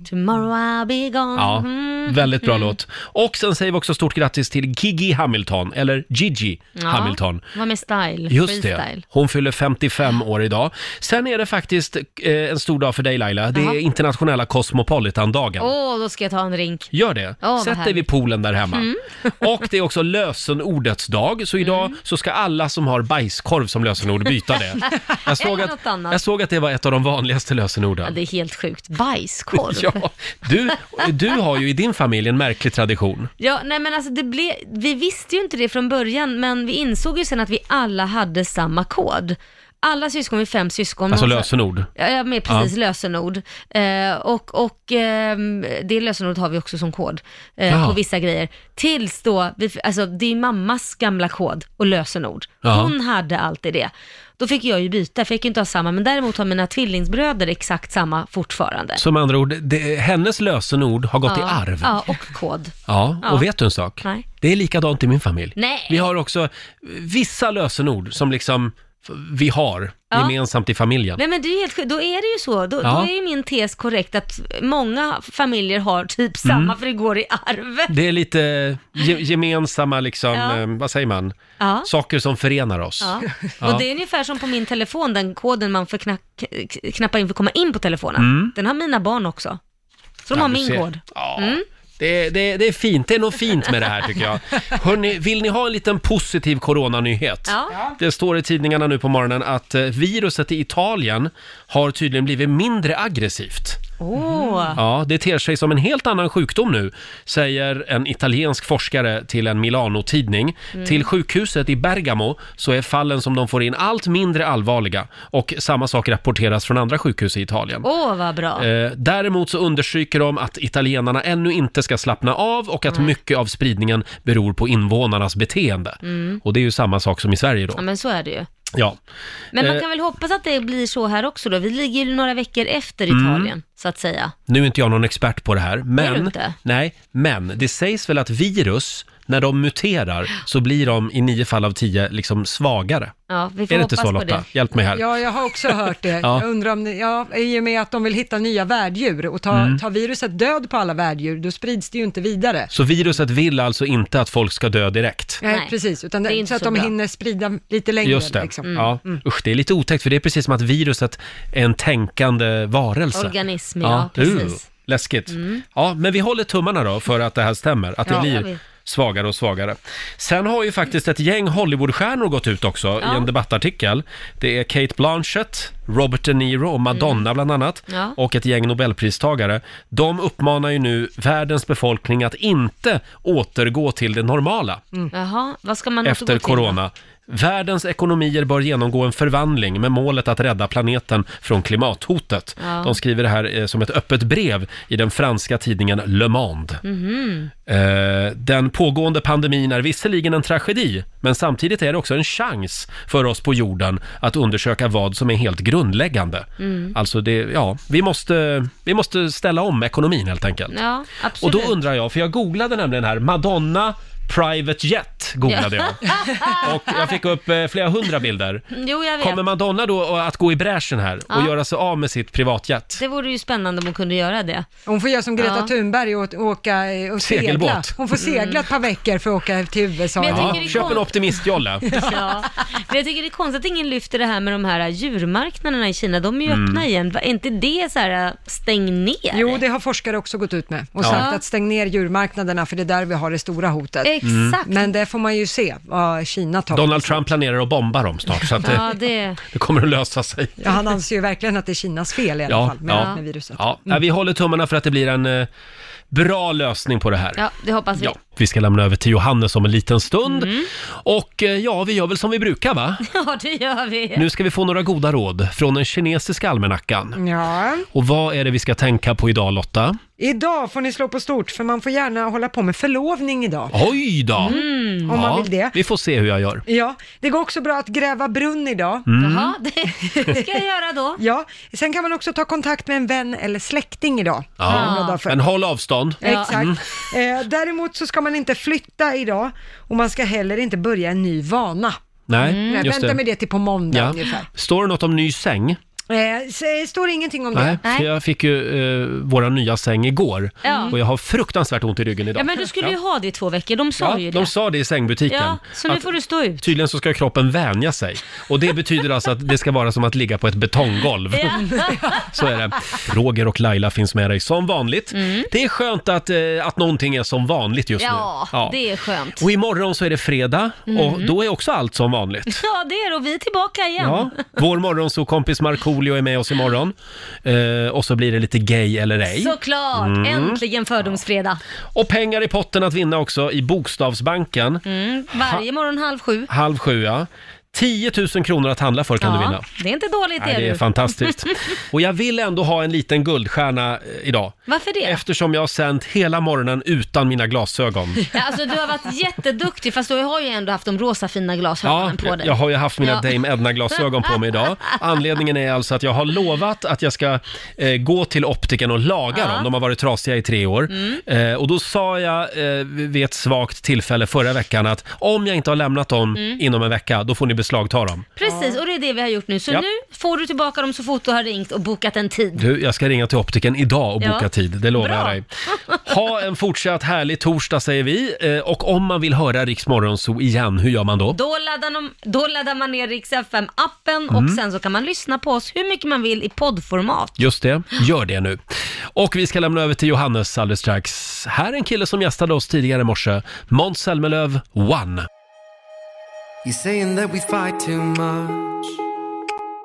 Tomorrow I'll be gone.
Ja,
Mm.
väldigt bra
Mm.
låt. Och sen säger vi också stort grattis till Gigi Hamilton, eller Gigi
Ja,
Hamilton.
Vad med style?
Just det,
Freestyle.
hon fyller 55 år idag. Sen är det faktiskt eh, en stor dag för dig Laila, det är
Jaha.
internationella Cosmopolitan-dagen.
Åh, då ska jag ta en drink.
Gör det.
Åh, vad
Sätt dig
härligt.
vid poolen där hemma.
Mm.
Och det är också lösenordets dag, så idag så ska alla som har bajskorv som lösenord byta det. Jag såg,
Eller
att,
något annat.
jag såg att det var ett av de vanligaste lösenorden.
Ja, det är helt sjukt. Bajskorv.
Ja, du, du har ju i din familj en märklig tradition.
Ja, nej men alltså det blev, vi visste ju inte det från början, men vi insåg ju sen att vi alla hade samma kod. Alla syskon, vi är fem syskon.
Alltså
har så-
lösenord.
Ja, ja, med precis
Ja.
lösenord. Eh, och och ehm, det lösenordet har vi också som kod eh,
Ja.
på vissa grejer. Tills då, vi, alltså det är mammas gamla kod och lösenord.
Ja.
Hon hade alltid det. Då fick jag ju byta, för jag fick ju inte ha samma, men däremot har mina tvillingsbröder exakt samma fortfarande.
Som andra ord, det, hennes lösenord har gått i
ja.
arv.
Ja, och kod.
Ja, och
Ja.
vet du en sak?
Nej.
Det är likadant i min familj.
Nej.
Vi har också eh, vissa lösenord som liksom f- vi har
Ja.
gemensamt i familjen.
Nej men det är ju helt sjukt. då är det ju så, då,
Ja.
då är ju min tes korrekt att många familjer har typ samma
Mm.
för det går i arv.
Det är lite ge- gemensamma, liksom,
Ja.
eh, vad säger man,
Ja.
saker som förenar oss.
Ja.
Ja.
Och det är ungefär som på min telefon, den koden man får knack, k- knappa in för att komma in på telefonen.
Mm.
Den har mina barn också. Så de
Ja,
har
du
min
ser.
kod.
Ja.
Mm.
Det, det, det är fint, det är något fint med det här tycker jag. Hörrni, vill ni ha en liten positiv coronanyhet?
Ja.
Det står i tidningarna nu på morgonen att eh, viruset i Italien har tydligen blivit mindre aggressivt.
Åh.
Ja, det ter sig som en helt annan sjukdom nu, säger en italiensk forskare till en Milano-tidning.
Mm.
Till sjukhuset i Bergamo så är fallen som de får in allt mindre allvarliga och samma sak rapporteras från andra sjukhus i Italien.
Åh, vad bra.
Eh, däremot så understryker de att italienarna ännu inte ska slappna av och att
Nej.
mycket av spridningen beror på invånarnas beteende.
Mm.
Och det är ju samma sak som i Sverige då.
Ja, men så är det ju.
Ja.
Men man
Eh,
kan väl hoppas att det blir så här också då. Vi ligger ju några veckor efter
Mm.
Italien, så att säga.
Nu är inte jag någon expert på det här, men,
inte?
nej, men det sägs väl att virus, när de muterar så blir de i nio fall av tio liksom svagare.
Ja, vi får
Är det inte
hoppas
så
på
Lotta?
det.
Hjälp mig här.
Ja, jag har också hört det.
Ja.
Jag undrar om ni, ja, i och med att de vill hitta nya värddjur och ta,
Mm.
ta viruset död på alla värddjur, då sprids det ju inte vidare.
Så viruset vill alltså inte att folk ska dö direkt.
Nej, precis. Utan det,
inte
så att
så
de
bra. Mm.
hinner sprida lite längre.
Just det.
Liksom.
Ja. Usch, det är lite otäckt för det är precis som att viruset är en tänkande varelse.
Organism, ja, precis. Mm.
uh, läskigt. Ja, men vi håller tummarna då för att det här stämmer, att det
Ja, jag
blir
vet.
svagare och svagare. Sen har ju faktiskt ett gäng Hollywoodstjärnor gått ut också i
Ja.
en debattartikel. Det är Kate Blanchett, Robert De Niro och Madonna bland annat
Mm. Ja.
och ett gäng Nobelpristagare. De uppmanar ju nu världens befolkning att inte återgå till det normala
Jaha, vad ska man återgå
Mm. efter
till då?
corona. Världens ekonomier bör genomgå en förvandling med målet att rädda planeten från klimathotet.
Ja.
De skriver det här eh, som ett öppet brev i den franska tidningen Le Monde.
Mhm.
Eh, Den pågående pandemin är visserligen en tragedi, men samtidigt är det också en chans för oss på jorden att undersöka vad som är helt grundläggande.
Mm.
Alltså, det, ja, vi måste, vi måste ställa om ekonomin helt enkelt.
Ja,
Och
absolut.
då undrar jag, för jag googlade nämligen här, Madonna Private Jet googlade jag. Och jag fick upp eh, flera hundra bilder.
Jo, jag vet.
Kommer Madonna då att gå i bräschen här och
Ja.
göra sig av med sitt privatjet?
Det vore ju spännande om hon kunde göra det.
Hon får göra som Greta
Ja.
Thunberg och åka eh, och
Segelbåt.
segla. Hon får segla ett par veckor för att åka till USA.
Men jag
Ja,
tycker det är
köp en
kon-
optimistjolle.
Ja. Men jag tycker det är konstigt att ingen lyfter det här med de här djurmarknaderna i Kina. De är ju
Mm.
öppna igen. Va- Är inte det så här, äh, stäng ner?
Jo, det har forskare också gått ut med och
Ja.
sagt att stäng ner djurmarknaderna för det är där vi har det stora hotet.
Exakt.
Mm. Men det får man ju se vad Kina tar.
Donald Trump planerar att bomba dem snart, så att det,
Ja, det...
det kommer att lösa sig.
Ja, han anser ju verkligen att det är Kinas fel i alla fall med,
ja.
med viruset.
Ja. ja, vi håller tummarna för att det blir en eh, bra lösning på det här.
Ja, alltså. det hoppas vi.
Ja, vi ska lämna över till Johannes om en liten stund.
Mm.
Och eh, ja, vi gör väl som vi brukar va?
Ja, det gör vi.
Nu ska vi få några goda råd från den kinesiska almanackan.
Ja.
Och vad är det vi ska tänka på idag Lotta?
Idag får ni slå på stort för man får gärna hålla på med förlovning idag.
Oj då!
Mm,
Om man vill det.
Vi får se hur jag gör.
Ja, det går också bra att gräva brunn idag.
Mm.
Jaha, det ska jag göra då.
Ja, sen kan man också ta kontakt med en vän eller släkting idag. Några dagar
Ja.
för-
Men Mm. håll avstånd.
Mm,
Exakt. Eh, däremot så ska man inte flytta idag och man ska heller inte börja en ny vana.
Nej,
Nej,
just
Mm. vänta
det.
med det till på måndag
Ja.
ungefär.
Står det något om ny säng?
Eh, så, eh, står det ingenting om
Nej,
det?
för jag fick ju eh, våra nya säng igår
Ja.
och jag har fruktansvärt ont i ryggen idag.
Ja, men du skulle ju
Ja.
ha det i två veckor. De sa
Ja,
ju det.
de sa det i sängbutiken.
ja, så nu
att typ-
får du stå ut.
Tydligen så ska kroppen vänja sig och det betyder alltså att det ska vara som att ligga på ett betonggolv.
Ja.
Så är det. Roger och Laila finns med dig som vanligt.
Mm.
Det är skönt att, eh, att någonting är som vanligt just
Ja,
nu.
det är Mm. skönt.
Och imorgon så är det fredag och då är också allt som vanligt.
Ja, det är det. Och vi är tillbaka igen.
Ja, vår morgonsåkompis Markoolio är med oss imorgon. Eh, och så blir det lite gay eller ej.
Såklart!
Mm.
Äntligen fördomsfredag.
Och pengar i potten att vinna också i Bokstavsbanken.
Mm. Varje morgon halv sju.
Halv sju, ja. 10 000 kronor att handla för kan du vinna.
Det är inte dåligt
Nej, det är
du.
fantastiskt. Och jag vill ändå ha en liten guldstjärna eh, idag.
Varför det?
Eftersom jag har sänt hela morgonen utan mina glasögon.
Ja, Alltså du har varit jätteduktig fast du har ju ändå haft de rosa fina
Ja,
glasögonen på dig.
jag har ju haft mina
Ja.
Dame Edna-glasögon på mig idag. Anledningen är alltså att jag har lovat att jag ska eh, gå till optiken och laga
Ja. Mm.
dem. De har varit trasiga i tre år. Eh, och då sa jag eh, vid ett svagt tillfälle förra veckan att om jag inte har lämnat dem
Mm.
inom en vecka, då får ni beslagta dem.
Precis, och det är det vi har gjort nu. Så
Ja.
nu får du tillbaka dem så fort du har ringt och bokat en tid.
Du, jag ska ringa till optiken idag och
Ja.
boka tid, det lovar
Bra.
jag dig. Ha en fortsatt härlig torsdag säger vi. Eh, och om man vill höra Rix Morgonzoo igen, hur gör man då?
Då laddar, de, då laddar man ner Rix FM-appen och
Mm.
sen så kan man lyssna på oss hur mycket man vill i poddformat.
Just det, gör det nu. Och vi ska lämna över till Johannes alldeles strax. Här är en kille som gästade oss tidigare i morse, Måns Zelmerlöw, One.
You're saying that we fight too much.